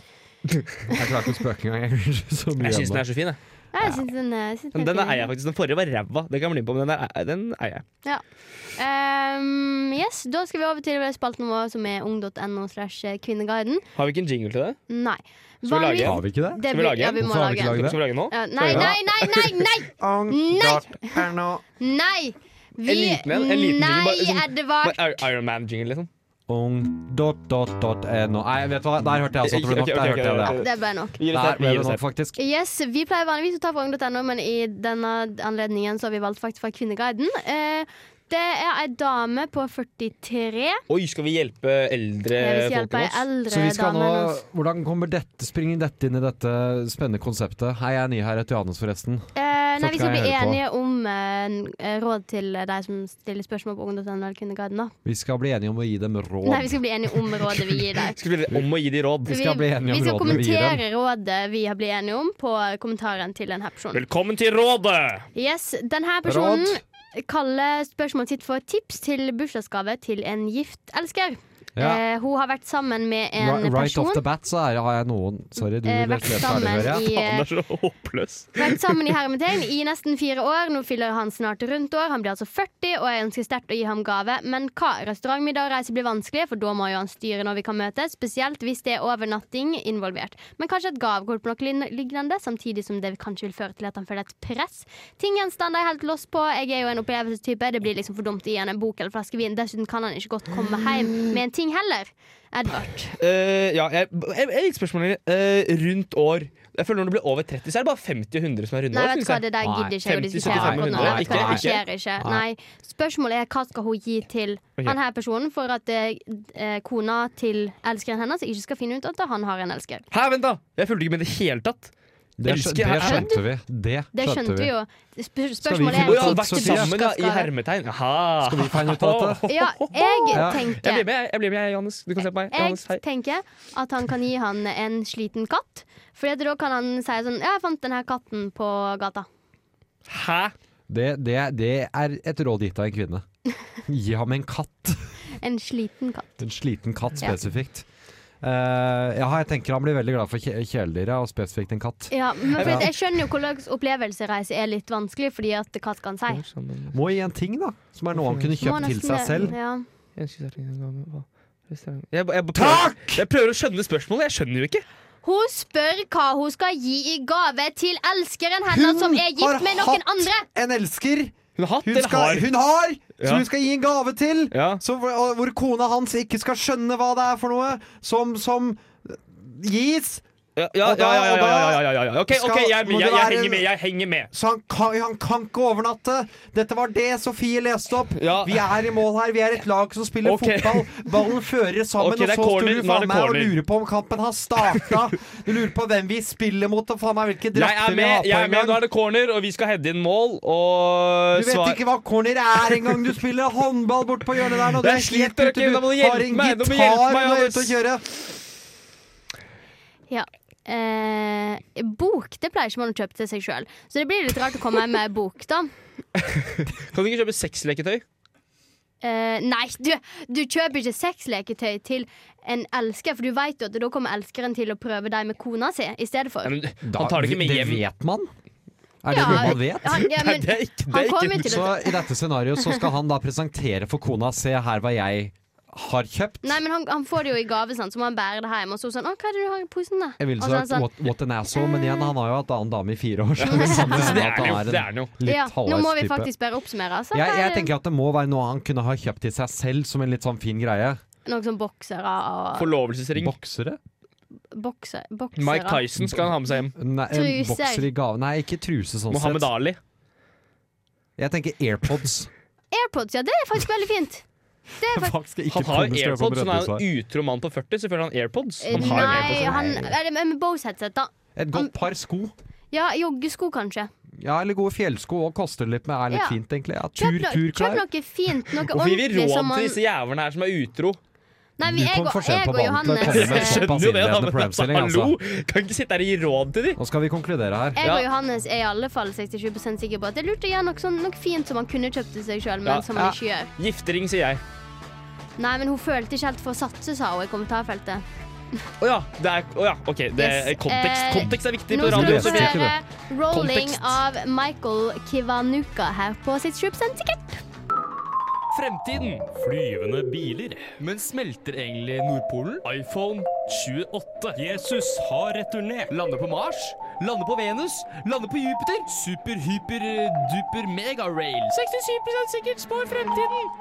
Speaker 4: Jeg klarer ikke å spøke engang. Jeg blir så mye
Speaker 5: Jeg syns den
Speaker 4: ennå.
Speaker 5: er så fin. Jeg.
Speaker 3: Ja, Jeg syns den, jeg syns
Speaker 5: Den, den
Speaker 3: fin.
Speaker 5: eier jeg faktisk. Den forrige var ræva. Den kan jeg bli med på, men den, er, den eier jeg.
Speaker 3: Ehm, yes, da skal vi over til spalten vår som er ung.no slash eh, kvinneguiden.
Speaker 5: Har vi ikke en jingle til det?
Speaker 3: Nei.
Speaker 5: Skal vi lage
Speaker 3: Vanligvis-
Speaker 4: Har vi ikke det?
Speaker 3: Det
Speaker 5: Skal vi lage
Speaker 3: Ja,
Speaker 5: en?
Speaker 3: vi må
Speaker 4: Hvorfor
Speaker 3: lage
Speaker 4: har vi
Speaker 3: en.
Speaker 4: ikke laget det?
Speaker 5: Skal vi lage den nå?
Speaker 3: Ja, nei,
Speaker 4: Ja.
Speaker 3: nei, nei, nei! nei, Nei! nei. Vi,
Speaker 5: En liten en, en liten jingle,
Speaker 3: nei,
Speaker 5: bare sånn-
Speaker 3: Edvard.
Speaker 5: Bare Ir- Iron Man-jingle, liksom.
Speaker 4: Ung dot dot dot no. Nei, vet du hva, der hørte jeg altså at det ble nok. Der hørte jeg det.
Speaker 3: Det ble nok.
Speaker 5: Vi gir
Speaker 4: Der
Speaker 5: oss
Speaker 4: ble
Speaker 5: her.
Speaker 4: det nok, faktisk.
Speaker 3: Yes, Vi pleier vanligvis å ta fra ung.no, men i denne anledningen så har vi valgt faktisk fra Kvinneguiden. Eh, det er ei dame på 43.
Speaker 5: Oi, skal vi hjelpe eldre
Speaker 3: Jeg vil
Speaker 5: folk
Speaker 3: hjelpe
Speaker 5: enn
Speaker 3: ei
Speaker 5: oss?
Speaker 3: eldre
Speaker 4: Eh, Så vi skal
Speaker 3: dame
Speaker 4: nå,
Speaker 3: enn oss.
Speaker 4: hvordan kommer dette, springer dette inn i dette spennende konseptet? Hei, jeg er ny her, jeg heter Johannes forresten.
Speaker 3: Eh, nei,
Speaker 4: Folk
Speaker 3: vi skal
Speaker 4: kan
Speaker 3: bli
Speaker 4: jeg høre på.
Speaker 3: enige om eh, n- eh, råd til eh, de som stiller spørsmål på ung.no eller Kvinneguiden. da
Speaker 4: Vi skal bli enige om å gi dem råd.
Speaker 3: Nei, vi skal bli enige om rådet vi gir deg.
Speaker 5: Skal vi om å gi de råd?
Speaker 4: Vi skal bli enige om
Speaker 3: vi skal
Speaker 4: rådene vi gir
Speaker 3: kommentere rådet vi har blitt enige om, på kommentaren til denne personen.
Speaker 6: Velkommen til Rådet!
Speaker 3: Yes, denne personen kaller spørsmålet sitt for tips til bursdagsgave til en gift elsker.
Speaker 4: Ja.
Speaker 3: Eh, hun har vært sammen med en
Speaker 4: Ri- Right
Speaker 3: person.
Speaker 4: off the bat så er, har jeg noen Sorry, du
Speaker 3: eh,
Speaker 4: vil
Speaker 3: vært,
Speaker 4: lese ferdig,
Speaker 3: sammen
Speaker 4: hører jeg.
Speaker 3: i,
Speaker 5: Han er så håpløs.
Speaker 3: vært sammen i hermetegn i nesten fire år. Nå fyller han snart rundt år. Han blir altså 40, og jeg ønsker sterkt å gi ham gave. Men hva? Restaurantmiddag og reise blir vanskelig, for da må jo han styre når vi kan møtes. Spesielt hvis det er overnatting involvert. Men kanskje et gavekort på noe lin- lignende, samtidig som det kanskje vil føre til at han føler et press. Tinggjenstander er jeg helt lost på. Jeg er jo en opplevelsestype. Det blir liksom for dumt å gi han en bok eller flaske vin. Dessuten kan han ikke godt komme hjem med en ting heller. Edvard.
Speaker 5: Eh, ja, jeg, jeg, jeg liker spørsmålet Eh, rundt år. Jeg føler Når du blir over 30, så er det bare 50 og 100 som er runde
Speaker 3: Nei,
Speaker 5: år.
Speaker 3: vet du
Speaker 5: synes
Speaker 3: hva,
Speaker 5: jeg.
Speaker 3: det der
Speaker 4: Nei,
Speaker 3: gidder ikke jeg å
Speaker 5: 50,
Speaker 3: diskutere.
Speaker 5: 75,
Speaker 3: akkurat nå.
Speaker 4: nei,
Speaker 3: Vet du hva,
Speaker 4: nei.
Speaker 3: Det skjer ikke. Nei. Spørsmålet er hva skal hun gi til
Speaker 5: Ok.
Speaker 3: han her personen for at eh, eh, kona til elskeren hennes ikke skal finne ut at han har en elsker.
Speaker 5: Hæ, vent, da! Jeg fulgte ikke med i det hele tatt.
Speaker 4: Det,
Speaker 5: Elsker
Speaker 4: skjø- det
Speaker 5: jeg-
Speaker 4: skjønte vi. Det
Speaker 3: Det skjønte vi jo. Spør
Speaker 4: Skal vi
Speaker 5: Å
Speaker 3: spørsmålet
Speaker 4: finne
Speaker 3: er altså,
Speaker 4: ut
Speaker 5: ja,
Speaker 4: av
Speaker 5: vært
Speaker 4: Sofie.
Speaker 5: sammen da, i hermetegn. Aha.
Speaker 4: Skal vi finne ut av
Speaker 3: Ja, jeg
Speaker 4: dette? Ja.
Speaker 5: Jeg blir
Speaker 3: tenker
Speaker 5: med, jeg, jeg blir med, jeg, Johannes. Du kan se på meg.
Speaker 3: jeg
Speaker 5: Johannes, hei.
Speaker 3: tenker at han kan gi han en sliten katt. For da kan han si sånn Ja, jeg fant denne katten på gata.
Speaker 5: Hæ?
Speaker 4: Det, det, det er et råd gitt av en kvinne. Gi ham en katt.
Speaker 3: En sliten katt.
Speaker 4: En sliten katt
Speaker 3: Ja.
Speaker 4: spesifikt. Eh, ja, jeg tenker han blir veldig glad for kje- kjæledyret, og spesifikt en katt.
Speaker 3: Ja, men for at jeg skjønner jo hvordan opplevelsereise er litt vanskelig, fordi at katt kan si.
Speaker 4: Må gi en ting, da, som er noe han kunne
Speaker 3: Må
Speaker 4: kjøpt til
Speaker 3: nesten
Speaker 4: seg
Speaker 3: det.
Speaker 4: selv.
Speaker 3: Ja.
Speaker 5: Jeg, jeg, prøver, jeg prøver å skjønne spørsmålet. Jeg skjønner jo ikke.
Speaker 3: Hun spør hva hun skal gi i gave til elskeren hennes som er
Speaker 4: Har
Speaker 3: gitt med noen
Speaker 4: hatt
Speaker 3: andre.
Speaker 4: En elsker!
Speaker 5: Hun har hatt
Speaker 4: Hun,
Speaker 5: eller
Speaker 4: skal,
Speaker 5: har.
Speaker 4: hun har!
Speaker 5: Ja.
Speaker 4: Som hun skal gi en gave til!
Speaker 5: Ja.
Speaker 4: Som, og hvor kona hans ikke skal skjønne hva det er for noe som, som gis.
Speaker 5: Ja, ja, ja, ja, ja, ja, ja, ja, ja. OK, ok, jeg, er med,
Speaker 4: Skal- må det
Speaker 5: jeg, jeg
Speaker 4: være en-
Speaker 5: henger med. Jeg henger med.
Speaker 4: Så han kan, han kan ikke overnatte! Dette var det Sofie leste opp.
Speaker 5: Ja.
Speaker 4: Vi er i mål her. Vi er et lag som spiller
Speaker 5: Ok.
Speaker 4: fotball. Ballen fører sammen,
Speaker 5: Ok, det er
Speaker 4: og så
Speaker 5: corner.
Speaker 4: står du
Speaker 5: Nå er
Speaker 4: faen
Speaker 5: det
Speaker 4: meg og
Speaker 5: corner.
Speaker 4: lurer på om kampen har starta. Du lurer på hvem vi spiller mot, og faen meg hvilke
Speaker 5: Jeg
Speaker 4: drakter
Speaker 5: er
Speaker 4: vi har
Speaker 5: med. jeg
Speaker 4: på
Speaker 5: er med, Nå
Speaker 4: engang.
Speaker 5: er det corner, og vi skal heade inn mål. Og
Speaker 4: Du vet
Speaker 5: svar
Speaker 4: ikke hva corner er engang! Du spiller håndball bort på hjørnet der, og du
Speaker 5: Jeg
Speaker 4: er helt
Speaker 5: sliter,
Speaker 4: ute.
Speaker 5: ok, da må du
Speaker 4: Du har
Speaker 5: hjelpe
Speaker 4: en
Speaker 5: meg, da må du hjelpe
Speaker 4: gitar
Speaker 5: meg,
Speaker 4: når du er
Speaker 5: Johannes.
Speaker 4: ute og kjøre.
Speaker 3: Ja. Eh, bok det pleier ikke man å kjøpe til seg sjøl, så det blir litt rart å komme hjem med bok, da.
Speaker 5: Kan du ikke kjøpe sexleketøy?
Speaker 3: Eh, nei, du, du kjøper ikke sexleketøy til en elsker, for du veit jo at da kommer elskeren til å prøve deg med kona si i stedet for.
Speaker 5: Nei, men Han tar det ikke med hjem.
Speaker 4: Det vet man. Er det
Speaker 3: Ja,
Speaker 4: noe man vet?
Speaker 3: han- ja,
Speaker 5: Nei,
Speaker 3: men
Speaker 5: det er ikke, det
Speaker 3: han
Speaker 5: er
Speaker 3: kommer
Speaker 5: ikke.
Speaker 3: jo til
Speaker 4: Så
Speaker 3: å
Speaker 4: i dette scenarioet så skal han da presentere for kona Se her hva jeg har kjøpt.
Speaker 3: Nei, men han, han får det jo i gave, sant? så må han bære det hjem. Og så sånn, å, hva er det du har i posen da?
Speaker 4: Jeg
Speaker 3: Og
Speaker 4: ville
Speaker 3: så er han
Speaker 4: sagt
Speaker 3: sånn,
Speaker 4: what, what an asshole, men igjen, han har jo hatt annen dame i fire år. Så det samme
Speaker 5: Så
Speaker 4: med
Speaker 5: Det
Speaker 4: at
Speaker 5: er den jo.
Speaker 4: han
Speaker 5: Det
Speaker 4: er
Speaker 5: er
Speaker 4: en
Speaker 5: den jo.
Speaker 4: litt
Speaker 3: ja, nå må
Speaker 4: halvveis
Speaker 3: vi
Speaker 4: type.
Speaker 3: faktisk bare oppsummere. Altså,
Speaker 4: Jeg,
Speaker 3: Hva
Speaker 4: jeg
Speaker 3: er det-
Speaker 4: tenker at det må være noe han kunne ha kjøpt til seg selv som en litt sånn fin greie.
Speaker 3: Noen sånn boksere og
Speaker 5: Forlovelsesring.
Speaker 4: Boksere?
Speaker 3: bokse, boksere.
Speaker 5: Mike Tyson skal han ha med seg hjem.
Speaker 4: Nei, en
Speaker 3: Truser.
Speaker 4: bokser i gave Nei, ikke truse sånn
Speaker 5: Mohammed Ali.
Speaker 4: sett. Jeg tenker AirPods.
Speaker 3: AirPods, ja, det er faktisk veldig fint. Det er faktisk...
Speaker 5: Han har jo AirPods, så han er jo en utro mann på 40. Selvfølgelig har han AirPods. Han har jo
Speaker 3: Eh, Nei,
Speaker 5: AirPods.
Speaker 3: han er det med Bose headset, da.
Speaker 4: Et godt par sko.
Speaker 3: Ja, joggesko, kanskje.
Speaker 4: Ja, Eller gode fjellsko. Og koster litt, men er litt
Speaker 3: Ja.
Speaker 4: fint, egentlig. Ja,
Speaker 3: Kjøp,
Speaker 4: tur,
Speaker 3: no
Speaker 4: tur,
Speaker 3: kjøp
Speaker 4: klær.
Speaker 3: noe fint, noe
Speaker 5: Hvorfor gir vi
Speaker 3: ordentlig
Speaker 5: råd
Speaker 3: som
Speaker 5: til
Speaker 3: man
Speaker 5: disse jævlene her som er utro?
Speaker 3: Nei,
Speaker 4: Du
Speaker 3: vi, jeg,
Speaker 4: kom
Speaker 3: og,
Speaker 4: for sent
Speaker 3: jeg
Speaker 4: på
Speaker 3: og
Speaker 4: banen til å komme
Speaker 3: Johannes
Speaker 5: Jeg
Speaker 4: med
Speaker 3: eh,
Speaker 5: skjønner jo det, da,
Speaker 4: Passiv-ledende
Speaker 5: men altså,
Speaker 4: problemstilling,
Speaker 5: hallo!
Speaker 4: altså.
Speaker 5: Kan ikke sitte her og gi råd til de!
Speaker 4: Nå skal vi konkludere her.
Speaker 3: Jeg og
Speaker 5: Ja.
Speaker 3: Johannes er i alle fall 67 sikre på at det lurte igjen noe, sånn, noe fint som han kunne kjøpt til seg sjøl, men
Speaker 5: Ja,
Speaker 3: som han
Speaker 5: ja.
Speaker 3: ikke gjør.
Speaker 5: Giftering, sier jeg.
Speaker 3: Nei, men hun følte ikke helt for å satse, sa hun i kommentarfeltet.
Speaker 5: Å ja, det er Å ja, OK. Det er
Speaker 3: Yes,
Speaker 5: kontekst.
Speaker 3: eh,
Speaker 5: Kontekst er viktig på
Speaker 3: Nå
Speaker 5: radio.
Speaker 3: skal du
Speaker 4: det
Speaker 3: få
Speaker 5: Sofie.
Speaker 4: viktig,
Speaker 3: høre rolling
Speaker 5: Kontekst.
Speaker 3: av Michael Kiwanuka her på 67 sikkert.
Speaker 6: Fremtiden. Flyvende biler. Men smelter egentlig Nordpolen? iPhone 28. Jesus har returnert. Lande på Mars? Lande på Venus? Lande på Jupiter? Super, hyper, duper, megarail. 67 sikkert spår fremtiden.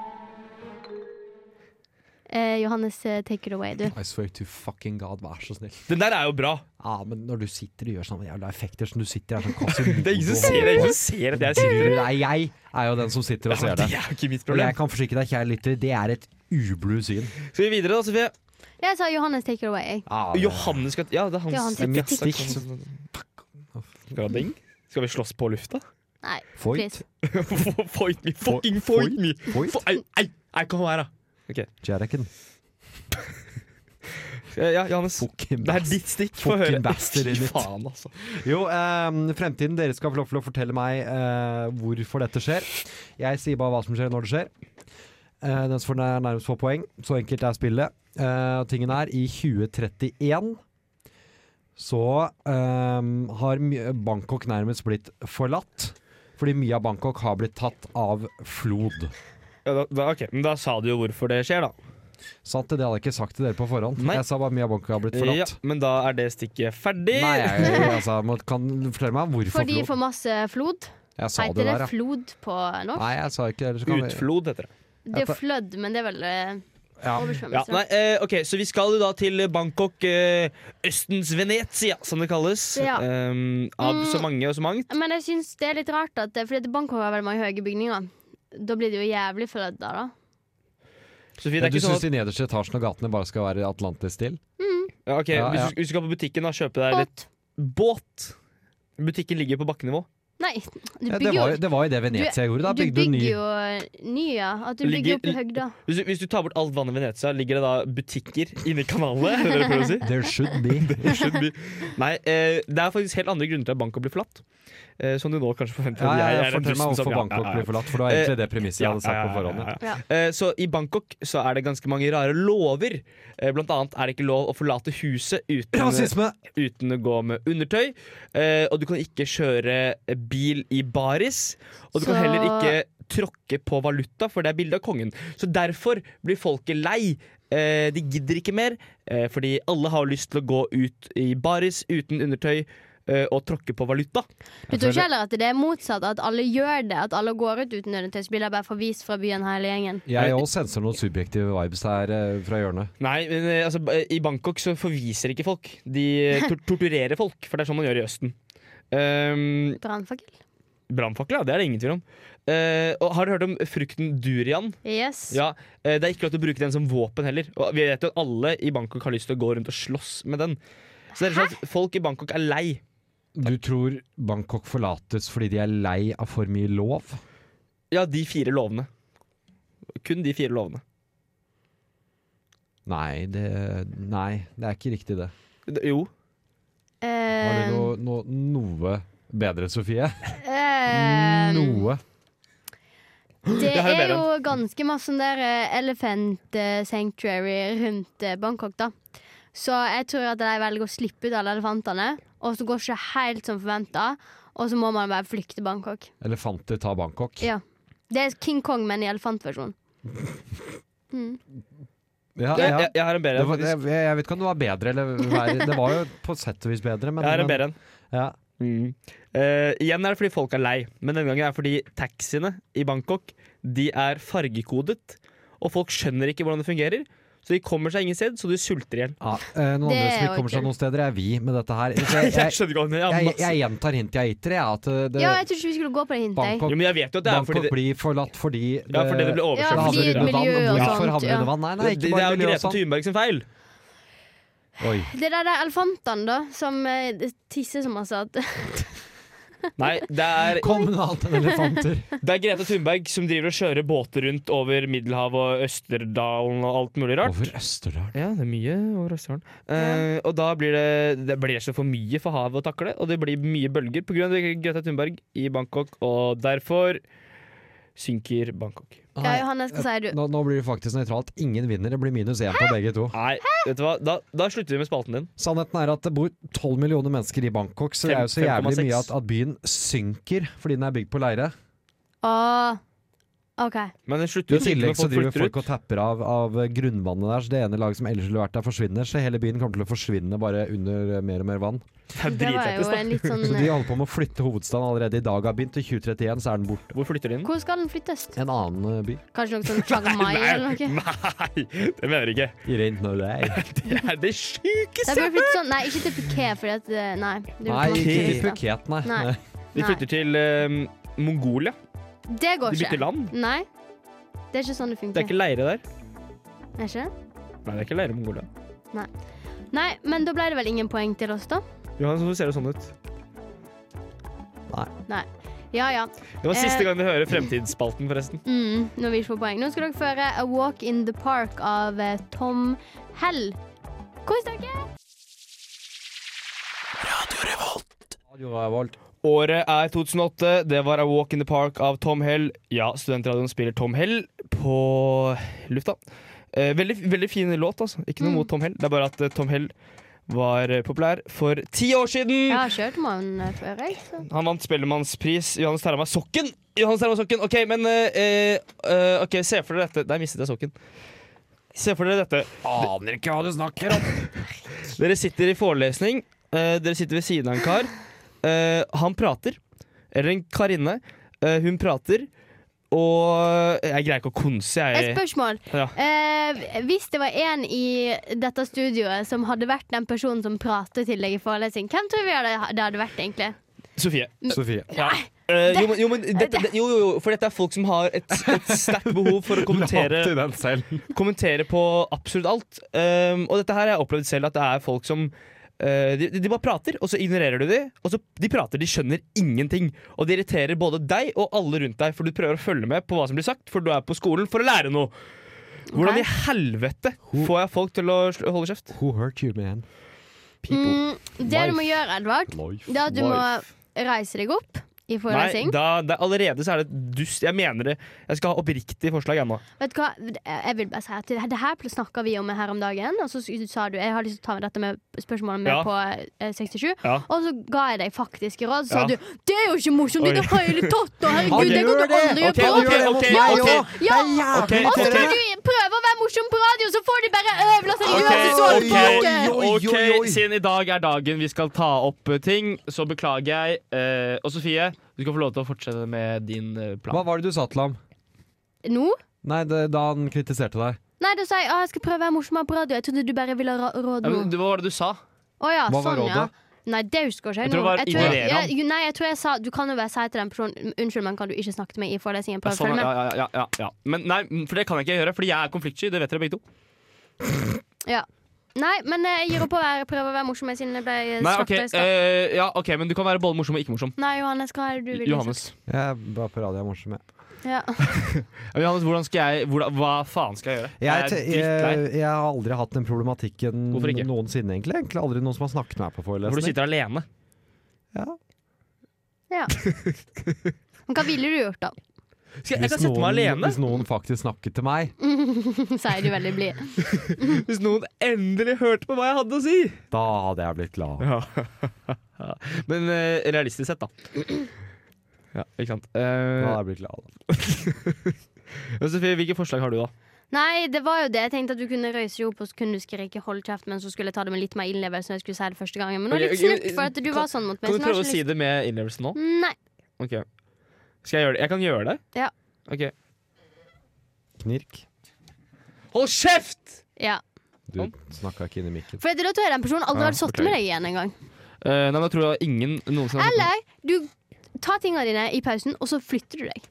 Speaker 3: Eh, Johannes, eh, take it away, du.
Speaker 4: I swear to fucking god, vær så snill.
Speaker 5: Den der er jo bra.
Speaker 4: Ja, men når du sitter og gjør sånne jævla effekter som du sitter her sånn kasse
Speaker 5: Det er ingen som ser, det er ingen som ser at jeg sitter
Speaker 4: Nei, jeg er jo den som sitter og ser
Speaker 5: Det
Speaker 4: det.
Speaker 5: er jo ikke mitt
Speaker 4: Og jeg
Speaker 5: problem.
Speaker 4: kan forsikre deg, kjære lytter, det er et ublu syn.
Speaker 5: Skal vi videre, da, Sofie?
Speaker 3: Jeg sa Johannes, take it away. jeg.
Speaker 4: Ja, det-
Speaker 5: Johannes skal Ja, det er
Speaker 3: Det er
Speaker 5: hans
Speaker 3: hans
Speaker 5: stikk.
Speaker 4: stikk.
Speaker 5: ja. Skal, vi ha ding? skal vi slåss på lufta?
Speaker 3: Nei,
Speaker 4: Foyt.
Speaker 3: please.
Speaker 5: Fight me! Fucking fight me!
Speaker 4: Foyt.
Speaker 5: Fo- Ei, ei, ei, kom her, da.
Speaker 4: Jereken.
Speaker 5: Eh, Ja, Johannes.
Speaker 4: Fucking
Speaker 5: Det er
Speaker 4: best.
Speaker 5: ditt stikk. Få høre.
Speaker 4: Fucking bastard i
Speaker 5: Fy
Speaker 4: mitt.
Speaker 5: faen, altså.
Speaker 4: Jo, ehm, fremtiden. Dere skal få lov til å fortelle meg eh, hvorfor dette skjer. Jeg sier bare hva som skjer når det skjer. Eh, den som får nær- nærmest få poeng. Så enkelt er spillet. Eh, tingen er, i 2031 så ehm, har my- Bangkok nærmest blitt forlatt. Fordi mye av Bangkok har blitt tatt av flod.
Speaker 5: Ja, da, da, ok, men da sa du jo hvorfor det skjer, da.
Speaker 4: Sant det? Det hadde jeg ikke sagt til dere på forhånd.
Speaker 5: Nei.
Speaker 4: Jeg sa bare mye av Bangkok har blitt forlatt.
Speaker 5: Ja, men da er det stikket ferdig.
Speaker 4: Nei, jeg, altså, må- kan du fortelle meg hvorfor
Speaker 3: Fordi
Speaker 4: flod?
Speaker 3: for masse flod.
Speaker 4: Jeg sa det
Speaker 3: Heter det
Speaker 4: der, ja.
Speaker 3: flod på norsk?
Speaker 4: Nei, jeg sa ikke det. ellers kan vi-
Speaker 5: Utflod heter det.
Speaker 3: Det er jo flødd, men det er vel eh,
Speaker 4: Ja.
Speaker 5: Ja,
Speaker 3: oversvømmelse.
Speaker 5: nei, eh, ok, Så vi skal jo da til Bangkok, eh, Østens Venezia, som det kalles.
Speaker 3: Ja.
Speaker 5: Ehm, av så mange og så mangt.
Speaker 3: Men jeg syns det er litt rart, at, eh, fordi at Bangkok har veldig mange høye bygninger. Da blir det jo jævlig flødd der, da.
Speaker 5: Sofie, det
Speaker 4: Men
Speaker 5: er
Speaker 4: du
Speaker 5: ikke sånn
Speaker 4: syns
Speaker 5: at,
Speaker 4: de nederste etasjene og gatene bare skal være atlantisk til?
Speaker 5: ja, ok,
Speaker 4: Ja, ja.
Speaker 5: Hvis, du, hvis du skal på butikken og kjøpe deg litt
Speaker 3: Båt.
Speaker 5: båt Butikken ligger på bakkenivå.
Speaker 3: Nei, du bygger
Speaker 4: Ja, det,
Speaker 3: jo
Speaker 4: var, jo- det var jo det Venezia gjorde. Da
Speaker 3: Du
Speaker 4: bygde du ny
Speaker 3: bygger jo eh, ny, ja. At du
Speaker 5: Ligger-
Speaker 3: bygger opp i høgda.
Speaker 5: Hvis, du- hvis du tar bort alt vannet i Venezia, ligger det da butikker inne i kanalene? Er det det du prøver å si?
Speaker 4: There should be.
Speaker 5: Should be. Nei, eh, det er faktisk helt andre grunner til at Bangkok blir forlatt. Eh, som du nå kanskje forventer.
Speaker 4: Ja,
Speaker 5: at
Speaker 4: ja,
Speaker 5: jeg
Speaker 4: ja,
Speaker 5: er den
Speaker 4: fortell meg
Speaker 5: dusten som-
Speaker 4: hvorfor
Speaker 5: ja,
Speaker 4: Bangkok
Speaker 5: ja, ja.
Speaker 4: ble forlatt, for det var egentlig det premisset jeg hadde
Speaker 5: Ja,
Speaker 4: sagt på
Speaker 5: ja, ja,
Speaker 4: forhånd. ja.
Speaker 5: ja, ja. Eh, Så i Bangkok så er det ganske mange rare lover. Eh, Blant annet er det ikke lov å forlate huset uten,
Speaker 4: Rasisme!
Speaker 5: uten å gå med undertøy. Eh, Og du kan ikke kjøre bil i baris. Og du kan
Speaker 3: Så-
Speaker 5: heller ikke tråkke på valuta, for det er bilde av kongen. Så derfor blir folket lei. Eh, De gidder ikke mer, eh, fordi alle har lyst til å gå ut i baris uten undertøy. eh, å tråkke på valuta.
Speaker 3: Du tror ikke heller at det er motsatt, at alle gjør det? At alle går ut uten nødvendigvis blir de bare forvist fra byen hele gjengen?
Speaker 4: Jeg òg senser noen subjektive vibes her eh, fra hjørnet.
Speaker 5: Nei, men eh, altså, b- i Bangkok så forviser ikke folk. De eh, tor torturerer folk, for det er sånn man gjør i Østen. Um,
Speaker 3: Brannfakkel?
Speaker 5: Brannfakkel, ja. Det er det ingen tvil om. Eh, og har du hørt om frukten durian?
Speaker 3: Yes.
Speaker 5: Ja, eh, Det er ikke lov til å bruke den som våpen heller. Og vi vet jo at alle i Bangkok har lyst til å gå rundt og slåss med den. Så det er sånn at folk i Bangkok er lei.
Speaker 4: Du tror Bangkok forlates fordi de er lei av for mye lov?
Speaker 5: Ja, de fire lovene. Kun de fire lovene.
Speaker 4: Nei, det, nei, det er ikke riktig, det.
Speaker 5: D- Jo.
Speaker 4: Har
Speaker 3: Eh,
Speaker 4: du noe, noe, noe bedre, Sofie? Mm.
Speaker 3: eh,
Speaker 4: Noe?
Speaker 3: Det
Speaker 5: Jeg har
Speaker 3: er
Speaker 5: bedre.
Speaker 3: jo ganske masse sånn der eh, elephant eh, sanctuary rundt eh, Bangkok, da. Så jeg tror at de velger å slippe ut alle elefantene, og så går det ikke helt som forventa, og så må man bare flykte Bangkok.
Speaker 4: Elefanter tar Bangkok?
Speaker 3: Ja. Det er King Kong, men i elefantversjon.
Speaker 4: Ja,
Speaker 5: Jeg,
Speaker 4: ja.
Speaker 5: jeg, jeg har en bedre
Speaker 4: Det
Speaker 5: en.
Speaker 4: var, jeg,
Speaker 5: faktisk.
Speaker 4: jeg vet ikke om det var bedre eller verre. Det var jo på sett og vis bedre, men
Speaker 5: Jeg har en
Speaker 4: men-
Speaker 5: bedre en.
Speaker 4: Ja.
Speaker 5: Mm. Eh, igjen er det fordi folk er lei, men denne gangen er det fordi taxiene i Bangkok De er fargekodet, og folk skjønner ikke hvordan det fungerer. Så de kommer seg ingen sted, så de sulter i hjel.
Speaker 4: Ja, eh, noen
Speaker 3: Det
Speaker 4: andre som
Speaker 3: er
Speaker 4: ikke
Speaker 3: jo
Speaker 4: kommer seg
Speaker 3: ikke-
Speaker 4: noen steder, er vi med dette her. Så
Speaker 5: Jeg,
Speaker 4: Jeg, jeg,
Speaker 5: skjønner ikke hva han- ja,
Speaker 4: jeg,
Speaker 5: masse-
Speaker 4: jeg gjentar hintet jeg gitt dere, jeg, at eh, det,
Speaker 3: Ja, jeg tror ikke vi skulle gå på det hintet. jeg.
Speaker 5: Jo,
Speaker 4: Bangkok,
Speaker 5: men jeg vet jo at det er fordi
Speaker 4: Bangkok
Speaker 5: det,
Speaker 4: blir forlatt fordi eh,
Speaker 5: ja, fordi det ble
Speaker 3: Ja,
Speaker 5: oversøkt.
Speaker 3: fordi
Speaker 5: det,
Speaker 4: havner under
Speaker 3: miljø
Speaker 4: vann.
Speaker 3: og
Speaker 4: Hvorfor
Speaker 3: sånt,
Speaker 4: havner
Speaker 3: ja.
Speaker 4: under vann? Nei, nei,
Speaker 5: det,
Speaker 4: ikke
Speaker 5: det er
Speaker 4: bare
Speaker 5: jo
Speaker 4: miljø og sånn.
Speaker 5: Grete
Speaker 4: sånt.
Speaker 5: Thunberg sin feil.
Speaker 4: Oi.
Speaker 3: Det der, de elefantene, da, som eh, tisser så masse at
Speaker 5: Nei, det er,
Speaker 4: Kom med alt enn elefanter.
Speaker 5: det er Grete Thunberg som driver og kjører båter rundt over Middelhavet og Østerdalen og alt mulig rart.
Speaker 4: Over Østerdalen.
Speaker 5: Ja, det er mye over Østerdalen. Eh, og da blir det, det blir så for mye for havet å takle, og det blir mye bølger pga. Greta Thunberg i Bangkok, og derfor synker Bangkok.
Speaker 3: Ja, Johannes, hva sier du?
Speaker 4: Nå, nå blir det faktisk nøytralt. Ingen vinner. Det blir minus én på begge to.
Speaker 5: Nei, vet du hva? Da, da slutter vi med spalten din.
Speaker 4: Sannheten er at det bor 12 millioner mennesker i Bangkok, så det er jo så jævlig
Speaker 5: 5,6.
Speaker 4: mye at, at byen synker fordi den er bygd på leire.
Speaker 3: Åh, OK.
Speaker 5: Men den slutter
Speaker 4: I
Speaker 5: jo å synke
Speaker 4: tillegg
Speaker 5: når
Speaker 4: så
Speaker 5: folk
Speaker 4: driver
Speaker 5: flytter
Speaker 4: folk
Speaker 5: ut.
Speaker 4: og tapper av, av grunnvannet der, så det ene laget som ellers ville vært der, forsvinner. Så hele byen kommer til å forsvinne bare under eh, mer og mer vann.
Speaker 5: Det er
Speaker 3: Det var
Speaker 5: dritlættis,
Speaker 3: jo en litt sånn
Speaker 4: Så de
Speaker 3: eh,
Speaker 4: holder på med å flytte hovedstaden allerede i dag har begynt. I 2031 så er den borte.
Speaker 5: da. Hvor flytter de den?
Speaker 3: Hvor skal den flyttes?
Speaker 4: En annen eh, by.
Speaker 3: Kanskje noe sånn Chiang Mai eller noe?
Speaker 5: Nei, det mener jeg ikke. Det er det
Speaker 3: Det
Speaker 5: sjukeste!
Speaker 3: burde flytte sånn Nei, ikke til Piquet, fordi at eh, Nei. det blir
Speaker 4: Nei,
Speaker 3: for mange
Speaker 4: ikke
Speaker 3: turister.
Speaker 4: Phuket, nei.
Speaker 3: Nei.
Speaker 4: nei.
Speaker 5: De flytter til eh, Mongolia.
Speaker 3: Det
Speaker 5: De
Speaker 3: går
Speaker 5: bytter
Speaker 3: ikke.
Speaker 5: land.
Speaker 3: Nei. Det er ikke sånn det
Speaker 5: Det er
Speaker 3: funker.
Speaker 5: ikke leire der.
Speaker 3: Er ikke det?
Speaker 5: Nei, det er ikke leire i Mongolia.
Speaker 3: Nei, men da ble det vel ingen poeng til oss, da?
Speaker 5: Johan, hvorfor ser du sånn ut?
Speaker 3: Ja ja.
Speaker 5: Det var siste
Speaker 3: Eh.
Speaker 5: gang vi hører Fremtidsspalten, forresten.
Speaker 3: Mm, når vi ikke får poeng. Nå skal dere føre A Walk in the Park av eh, Tom Hell. Kos dere!
Speaker 4: Radio Revolt.
Speaker 5: Året er 2008. Det var A Walk in the Park av Tom Hell. Ja, studentradioen spiller Tom Hell på lufta. Eh, veldig, veldig fin låt, altså. Ikke noe
Speaker 3: Mm.
Speaker 5: mot Tom Hell. Det er bare at eh, Tom Hell var eh, populær for ti år siden.
Speaker 3: Jeg har kjørt med han eh, før, jeg. Så.
Speaker 5: Han vant Spellemannspris. Johannes Terma Sokken! Johannes Terma Sokken. OK, men eh, eh, Ok, se for dere dette. Der mistet jeg sokken. Se for dere dette.
Speaker 4: Aner ikke hva du snakker om.
Speaker 5: Dere sitter i forelesning. eh, dere sitter ved siden av en kar. Eh, han prater. Eller en karinne. Eh, hun prater. Og eh, jeg greier ikke å konse,
Speaker 3: Et
Speaker 5: jeg.
Speaker 3: spørsmål.
Speaker 5: Ja.
Speaker 3: Eh, hvis det var en i dette studioet som hadde vært den personen som pratet til deg i forelesning, hvem tror vi hadde, det hadde vært, egentlig?
Speaker 5: Sofie.
Speaker 4: Sofie.
Speaker 5: Eh, jo, men, jo, men dette, det, jo, jo, jo, for dette er folk som har et, et sterkt behov for å kommentere
Speaker 4: den selv.
Speaker 5: kommentere på absolutt alt. Um, og dette her har jeg opplevd selv, at det er folk som uh, de, de bare prater, og så ignorerer du dem. Og så de prater, de skjønner ingenting. Og det irriterer både deg og alle rundt deg, for du prøver å følge med på hva som blir sagt, for du er på skolen for å lære noe. Hvordan i helvete får jeg folk til å sl- holde kjeft?
Speaker 4: Who hurt you, man?
Speaker 3: Mm, det du må gjøre, Edvard,
Speaker 4: Life.
Speaker 3: det er at du må reise deg opp
Speaker 5: Nei,
Speaker 3: i forelesning.
Speaker 5: da, det, allerede så er det dust. Jeg mener det. Jeg skal ha oppriktig forslag ennå.
Speaker 3: Vet du hva, jeg vil bare si at det her snakka vi om her om dagen, og så sa du jeg har lyst til å ta med dette med spørsmålet med
Speaker 5: Ja.
Speaker 3: på eh, 67,
Speaker 5: Ja.
Speaker 3: og så ga jeg deg faktiske råd, så
Speaker 5: Ja.
Speaker 3: sa du det er jo ikke morsomt i det hele tatt, og
Speaker 4: Han
Speaker 3: herregud, det kan
Speaker 4: gjør
Speaker 3: du
Speaker 4: det!
Speaker 3: aldri gjøre
Speaker 5: Ok,
Speaker 3: på!
Speaker 5: ok, ok,
Speaker 4: Nei,
Speaker 5: ok.
Speaker 4: jo. Det er
Speaker 3: Ja,
Speaker 4: jævlig
Speaker 5: Ok,
Speaker 3: Og så
Speaker 5: ok.
Speaker 4: irriterende.
Speaker 3: du prøver å være morsom på radio, så får de bare overlaseriøse svar
Speaker 5: Ok,
Speaker 3: tilbake!
Speaker 5: ok,
Speaker 7: Oi, oi,
Speaker 5: ok,
Speaker 7: oi.
Speaker 5: siden i dag er dagen vi skal ta opp eh, ting, så beklager jeg. Eh, og Sofie, du skal få lov til å fortsette med din eh,
Speaker 4: Hva
Speaker 5: plan.
Speaker 4: var det du sa til ham?
Speaker 3: Nå?
Speaker 4: Nei, det, da han kritiserte deg.
Speaker 3: Nei, da sa jeg at jeg skal prøve å være morsommere på radio. Jeg trodde du bare ville ha ra- råd
Speaker 5: Ja,
Speaker 3: nå.
Speaker 5: men, du, hva var det du sa?
Speaker 3: Å ja,
Speaker 4: Hva var
Speaker 3: sånn, ja.
Speaker 4: rådet?
Speaker 3: Nei, det husker ikke jeg
Speaker 5: Jeg tror
Speaker 3: nå.
Speaker 5: det var
Speaker 3: Jeg tror jeg,
Speaker 5: ignorer han.
Speaker 3: jeg, nei, jeg tror jeg sa Du kan jo bare si til den personen Unnskyld, men kan du ikke snakke til meg i
Speaker 5: Ja,
Speaker 3: forelesningen? Prøv å
Speaker 5: sånn,
Speaker 3: følge
Speaker 5: ja, ja,
Speaker 3: med.
Speaker 5: ja, ja, ja. Men nei, for det kan jeg ikke gjøre, fordi jeg er konfliktsky. Det vet dere begge to.
Speaker 3: Nei, men eh, jeg gir opp å være, prøve å være morsom jeg, siden jeg ble eh,
Speaker 5: Nei, ok,
Speaker 3: slakta i stad.
Speaker 5: eh, ja, ok, Men du kan være både morsom og ikke morsom.
Speaker 3: Nei, Johannes, hva er det du vil
Speaker 5: Johannes,
Speaker 4: Jeg var på radio, jeg er morsom, jeg.
Speaker 3: Ja.
Speaker 5: Ja, Johannes hvordan skal jeg, hvordan, hva faen skal jeg gjøre?
Speaker 4: Jeg,
Speaker 5: jeg er drittlei.
Speaker 4: jeg, jeg har aldri hatt den problematikken
Speaker 5: Hvorfor ikke?
Speaker 4: noensinne, egentlig. Egentlig aldri noen som har snakket med meg på
Speaker 5: Hvor du
Speaker 4: forelesning.
Speaker 5: sitter alene.
Speaker 3: ja. Men hva ville du gjort, da?
Speaker 5: Skal jeg, jeg kan sette meg alene.
Speaker 4: hvis noen faktisk snakket til meg,
Speaker 3: Sier du veldig blid.
Speaker 5: Hvis noen endelig hørte på hva jeg hadde å si!
Speaker 4: da hadde jeg blitt glad.
Speaker 5: Men eh, realistisk sett, da. Ja, ikke sant.
Speaker 4: Da
Speaker 5: Eh,
Speaker 4: hadde jeg blitt glad.
Speaker 5: men Sofie, hvilke forslag har du, da?
Speaker 3: Nei, det var jo det. Jeg tenkte at du kunne røyse deg opp og så kunne du skrike 'hold kjeft', men så skulle jeg ta det med litt mer innlevelse når jeg skulle si det første gangen. Men nå er det litt
Speaker 5: Ok, ok,
Speaker 3: snutt, for at du
Speaker 5: kan-
Speaker 3: var sånn mot meg.
Speaker 5: Kan
Speaker 3: så
Speaker 5: du
Speaker 3: nå har
Speaker 5: prøve å si
Speaker 3: jeg ikke
Speaker 5: det med innlevelse nå?
Speaker 3: lyst- Nei.
Speaker 5: Ok Skal jeg gjøre det? Jeg kan gjøre det?
Speaker 3: Ja.
Speaker 5: Ok
Speaker 4: Knirk.
Speaker 5: Hold kjeft!
Speaker 3: Ja.
Speaker 4: Du
Speaker 5: Sånn.
Speaker 4: snakka ikke inn i mikken.
Speaker 3: For da tror jeg den personen aldri
Speaker 5: Ja,
Speaker 3: hadde sittet
Speaker 5: beklager.
Speaker 3: med deg igjen engang.
Speaker 5: Eh, nei, men jeg tror jeg ingen noensinne har
Speaker 3: Eller du tar tingene dine i pausen, og så flytter du deg.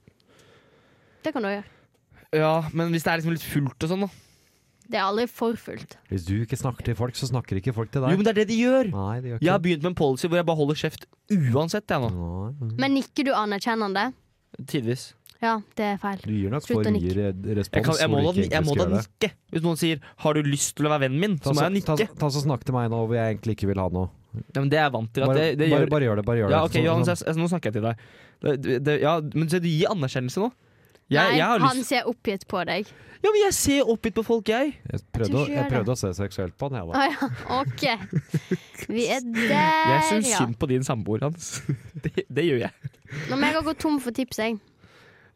Speaker 3: Det kan du gjøre.
Speaker 5: Ja, men hvis det er liksom litt fullt og sånn, da.
Speaker 3: Det er aldri for fullt.
Speaker 4: Hvis du ikke snakker til folk, så snakker ikke folk til
Speaker 5: Jo,
Speaker 4: deg.
Speaker 5: men det er det de gjør!
Speaker 4: Nei, det gjør
Speaker 5: Jeg
Speaker 4: ikke
Speaker 5: har begynt med en policy hvor jeg bare holder kjeft uansett, jeg nå.
Speaker 4: Nei.
Speaker 3: Men nikker du anerkjennende?
Speaker 5: Tidvis.
Speaker 3: Ja, det er feil.
Speaker 4: Du gir nok
Speaker 3: Slutt
Speaker 4: for
Speaker 3: å nikke.
Speaker 4: mye re-
Speaker 5: Jeg,
Speaker 4: respons.
Speaker 5: kan, jeg må
Speaker 4: hvor
Speaker 5: da,
Speaker 4: du ikke
Speaker 5: jeg må da
Speaker 4: egentlig skal gjøre det.
Speaker 5: nikke. Hvis noen sier 'har du lyst til å være vennen min', så
Speaker 4: Ta
Speaker 5: må jeg
Speaker 4: ta,
Speaker 5: nikke.
Speaker 4: ta så Snakk til meg nå hvor jeg egentlig ikke vil ha noe.
Speaker 5: Ja, men det er jeg vant til. At
Speaker 4: Bare,
Speaker 5: det, det
Speaker 4: bare,
Speaker 5: gjør
Speaker 4: bare gjør det. sånn- bare gjør
Speaker 5: Ja,
Speaker 4: det
Speaker 5: ok, Johannes, jeg, jeg, nå snakker jeg til deg. Det, det, det, ja, men se, du gir anerkjennelse nå. Jeg,
Speaker 3: Nei,
Speaker 5: jeg har
Speaker 3: han
Speaker 5: lyst
Speaker 3: ser oppgitt på deg.
Speaker 5: Ja, men jeg ser oppgitt på folk, jeg.
Speaker 4: Jeg prøvde, å,
Speaker 3: Kanskje
Speaker 4: jeg
Speaker 3: gjør det. Ah,
Speaker 4: prøvde å se seksuelt på han, jeg,
Speaker 3: Å
Speaker 4: da.
Speaker 3: ja, OK. Vi er
Speaker 5: Jeg
Speaker 3: der,
Speaker 5: syns
Speaker 3: ja.
Speaker 5: synd på din samboer, Hans. Det, det gjør jeg.
Speaker 3: Når jeg har gått tom for tips, jeg.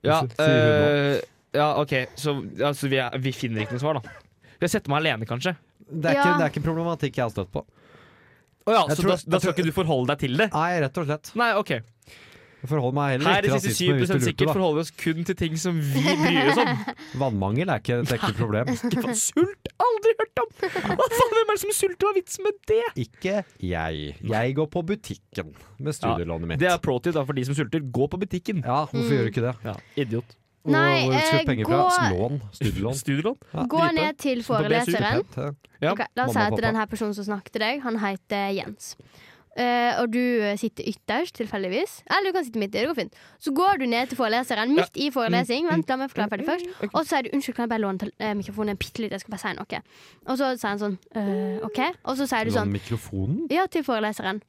Speaker 5: Ja,
Speaker 4: Så sier hun
Speaker 5: eh, ja OK, så altså, vi, er, vi finner ikke noe svar, da. Jeg setter meg alene, kanskje.
Speaker 4: Det er, ikke,
Speaker 3: Ja.
Speaker 4: det er ikke problematikk jeg har støtt på.
Speaker 5: Å ja,
Speaker 4: Jeg
Speaker 5: så
Speaker 4: tror-
Speaker 5: da, da
Speaker 4: jeg
Speaker 5: skal
Speaker 4: tror-
Speaker 5: ikke du forholde deg til det?
Speaker 4: Nei, rett og slett.
Speaker 5: Nei, OK.
Speaker 4: Forhold meg heller
Speaker 5: Her
Speaker 4: ikke
Speaker 5: i
Speaker 4: til
Speaker 5: siste
Speaker 4: rasisme,
Speaker 5: 7
Speaker 4: hvis du
Speaker 5: sikkert
Speaker 4: lurte.
Speaker 5: forholder vi oss kun til ting som vi bryr oss om.
Speaker 4: da Vannmangel er ikke et ekte problem.
Speaker 5: Ikke faen, Sult? Aldri hørt om! Hva faen, Hvem er det som sulter? Hva er vitsen med det?
Speaker 4: Ikke jeg. Jeg går på butikken med studielånet mitt.
Speaker 5: Det er pro tip da, for de som sulter. Gå på butikken.
Speaker 4: Ja, hvorfor gjør du ikke det?
Speaker 5: Ja, Idiot.
Speaker 4: Hvor-
Speaker 3: Mm. Nei,
Speaker 4: hvor skal
Speaker 3: eh,
Speaker 4: du penger
Speaker 3: gå-
Speaker 4: fra? Lån. Studielån. eh,
Speaker 5: Studielån?
Speaker 3: Gå
Speaker 5: dritbra.
Speaker 3: ned til
Speaker 5: Så da ble jeg sur.
Speaker 3: foreleseren.
Speaker 5: Ja,
Speaker 3: Ok, la oss si
Speaker 4: mamma
Speaker 3: at
Speaker 4: og pappa.
Speaker 3: den her personen som snakket til deg, han heter Jens. Eh, og du eh, sitter ytterst, tilfeldigvis. Eller du kan sitte midt i, det går fint. Så går du ned til foreleseren midt i forelesning.
Speaker 4: Mm,
Speaker 3: Vent, la meg forklare ferdig først. Og så sier du 'unnskyld, kan jeg bare låne tel- eh, mikrofonen en bitte litt, jeg skal bare si noe'. Og så sier han sånn «Øh, 'ok'. Og så sier du sånn
Speaker 4: Lån mikrofonen?
Speaker 3: Ja, til foreleseren.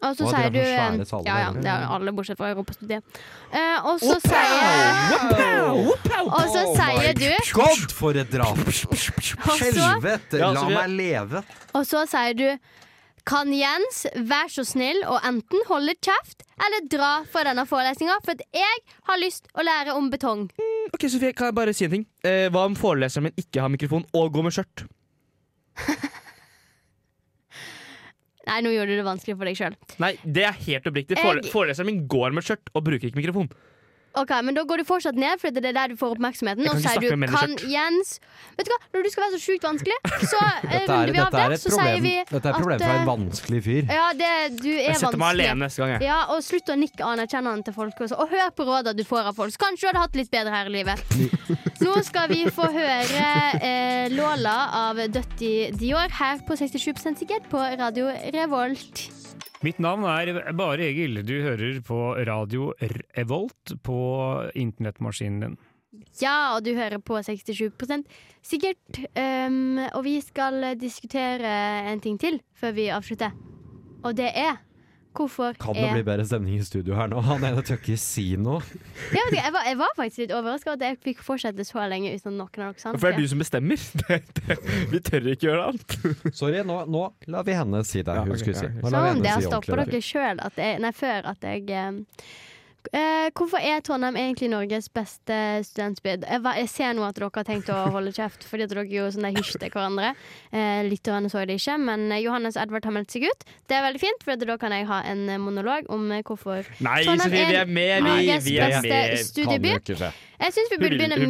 Speaker 3: Og så
Speaker 4: Å,
Speaker 3: sier
Speaker 4: dere
Speaker 3: du
Speaker 4: er så svære
Speaker 3: eh,
Speaker 4: saler,
Speaker 3: Ja, ja,
Speaker 4: dere.
Speaker 3: det er alle bortsett fra Europastudiet. Eh, og så sier Og så
Speaker 5: Oh
Speaker 3: sier du
Speaker 4: God, for et drap!
Speaker 3: så-
Speaker 4: Helvete,
Speaker 5: Ja,
Speaker 4: la
Speaker 5: så vi-
Speaker 4: meg leve!
Speaker 3: Og så sier du Kan Jens være så snill å enten holde kjeft eller dra fra denne forelesninga, for at jeg har lyst å lære om betong.
Speaker 5: Ok, Sofie, kan jeg bare si en ting? Eh, hva om foreleseren min ikke har mikrofon og går med skjørt?
Speaker 3: Nei, nå gjorde du det vanskelig for deg sjøl.
Speaker 5: Nei, det er helt oppriktig. Fore
Speaker 3: Jeg-
Speaker 5: Foreleseren min går med skjørt og bruker ikke mikrofon.
Speaker 3: Ok, men da går du fortsatt ned, for det er der du får oppmerksomheten.
Speaker 5: Jeg kan ikke
Speaker 3: Og så sier
Speaker 5: snakke med menn i
Speaker 3: du Kan Jens Vet du hva, når du skal være så sjukt vanskelig, så eh, runder vi av det. Så sier vi
Speaker 4: dette er et problem fra en
Speaker 3: eh,
Speaker 4: vanskelig fyr.
Speaker 3: Ja, det, du er
Speaker 5: Jeg setter meg
Speaker 3: vanskelig.
Speaker 5: alene neste gang. Jeg.
Speaker 3: Ja, og slutt å nikke anerkjennende til folk. Også. Og hør på rådene du får av folk. Så kanskje du hadde hatt litt bedre her i livet. Nå skal vi få høre eh, Lola av Døtti Dior her på 67 sikkert på Radio Revolt.
Speaker 8: Mitt navn er Bare Egil. Du hører på Radio Revolt på internettmaskinen din.
Speaker 3: Ja, og du hører på 67 sikkert. Um, og vi skal diskutere en ting til før vi avslutter. Og det er Hvorfor
Speaker 4: Kan det
Speaker 3: er
Speaker 4: bli bedre stemning i studio her nå? Han ene tør ikke si noe.
Speaker 3: jeg, vet ikke, jeg, var, jeg var faktisk litt overraska at jeg fikk fortsette så lenge uten at noen av dere sa
Speaker 5: For det er
Speaker 3: noe.
Speaker 5: du som bestemmer. Det, det, vi tør ikke gjøre det annet.
Speaker 4: Sorry, nå, nå lar vi henne si det
Speaker 5: Ja,
Speaker 4: hun
Speaker 5: ok,
Speaker 4: skulle
Speaker 5: ja,
Speaker 4: si.
Speaker 5: ok.
Speaker 4: Nå lar vi
Speaker 3: Sånn,
Speaker 4: henne
Speaker 3: det har
Speaker 4: si
Speaker 3: stoppa
Speaker 4: ordentlig det.
Speaker 3: dere sjøl Nei, før at jeg eh, Eh, hvorfor er Trondheim egentlig Norges beste studentby? Jeg, va- jeg ser nå at dere har tenkt å holde kjeft, fordi at dere gjorde sånn der hysj til hverandre. Eh, Lytterne så det ikke, men eh, Johannes Edvard har meldt seg ut. Det er veldig fint, for da kan jeg ha en eh, monolog om eh, hvorfor
Speaker 5: Nei,
Speaker 3: Trondheim
Speaker 5: Sofie, vi
Speaker 3: er
Speaker 5: er med! Vi,
Speaker 3: Norges
Speaker 5: vi er
Speaker 3: beste
Speaker 5: med.
Speaker 4: Kan
Speaker 3: studieby.
Speaker 4: jo ikke skje.
Speaker 3: Jeg syns vi burde begynne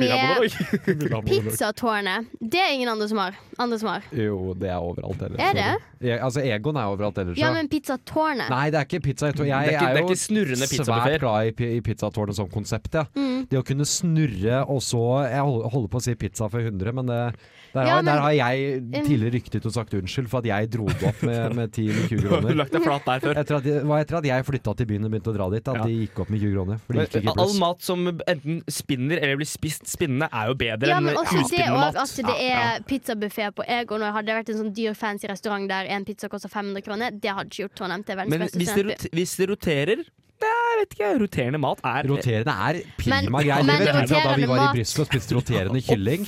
Speaker 3: med pizzatårnet. Det er ingen andre som har. Andre som har.
Speaker 4: Jo, det er overalt ellers.
Speaker 3: Er det?
Speaker 4: Jeg, altså, Egon er overalt ellers.
Speaker 3: Ja, men pizzatårnet.
Speaker 4: Nei, det er ikke pizza. Jeg, tror- jeg
Speaker 5: Det er ikke- det er ikke
Speaker 4: er
Speaker 5: snurrende
Speaker 4: jo
Speaker 5: pizzabuffet.
Speaker 4: svært glad i, pi- i pizzatårnet som konsept. Ja.
Speaker 3: Mm.
Speaker 4: Det å kunne snurre og så Jeg hol- holder på å si pizza for 100, men det, der,
Speaker 3: Ja,
Speaker 4: har,
Speaker 3: men- Mm.
Speaker 4: der har jeg tidligere ryktet og sagt unnskyld for at jeg dro det opp med, med 10-20
Speaker 5: Du
Speaker 4: kroner.
Speaker 5: lagt deg flat der før.
Speaker 4: Etter at, de- hva etter at jeg flytta til byen og begynte å dra dit, at
Speaker 5: Ja.
Speaker 4: de gikk opp med 20 kroner. For de gikk ikke i
Speaker 5: All
Speaker 4: pluss.
Speaker 5: mat som enten spinner eller blir spist spinnende, er jo bedre
Speaker 3: Ja,
Speaker 5: enn
Speaker 3: men også det
Speaker 5: uspinnende
Speaker 3: òg
Speaker 5: mat.
Speaker 3: at det er pizzabuffé på Egon. Og hadde det vært en sånn dyr, fancy restaurant der en pizza koster 500 kroner, det hadde ikke gjort Trondheim til verdens
Speaker 5: Men
Speaker 3: beste
Speaker 5: hvis det,
Speaker 3: studentby.
Speaker 5: rot- hvis det roterer Nei, Jeg vet ikke, roterende mat er
Speaker 4: Roterende er prima
Speaker 3: Men-
Speaker 4: greier.
Speaker 3: men
Speaker 4: Det vet du fra da
Speaker 3: roterende
Speaker 4: vi var i
Speaker 3: mat-
Speaker 4: Brussel og spiste roterende kylling.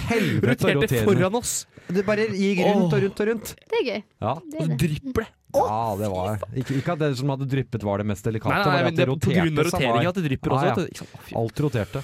Speaker 4: Helvete,
Speaker 5: Roterte
Speaker 4: roterende.
Speaker 5: foran oss!
Speaker 4: Det bare gikk rundt og rundt og rundt.
Speaker 3: Det er gøy.
Speaker 4: Ja,
Speaker 5: Og
Speaker 3: Det er
Speaker 5: så
Speaker 3: det.
Speaker 5: drypper det.
Speaker 4: ja det var Ikke, ikke at det som hadde dryppet var det mest delikate.
Speaker 5: Nei, nei,
Speaker 4: bare
Speaker 5: nei,
Speaker 4: at
Speaker 5: men det er på grunn av
Speaker 4: roterte som var-
Speaker 5: roteringa at det drypper
Speaker 4: Ja,
Speaker 5: også.
Speaker 4: ja.
Speaker 5: At det, ikke sant? Å, fy.
Speaker 4: Alt roterte.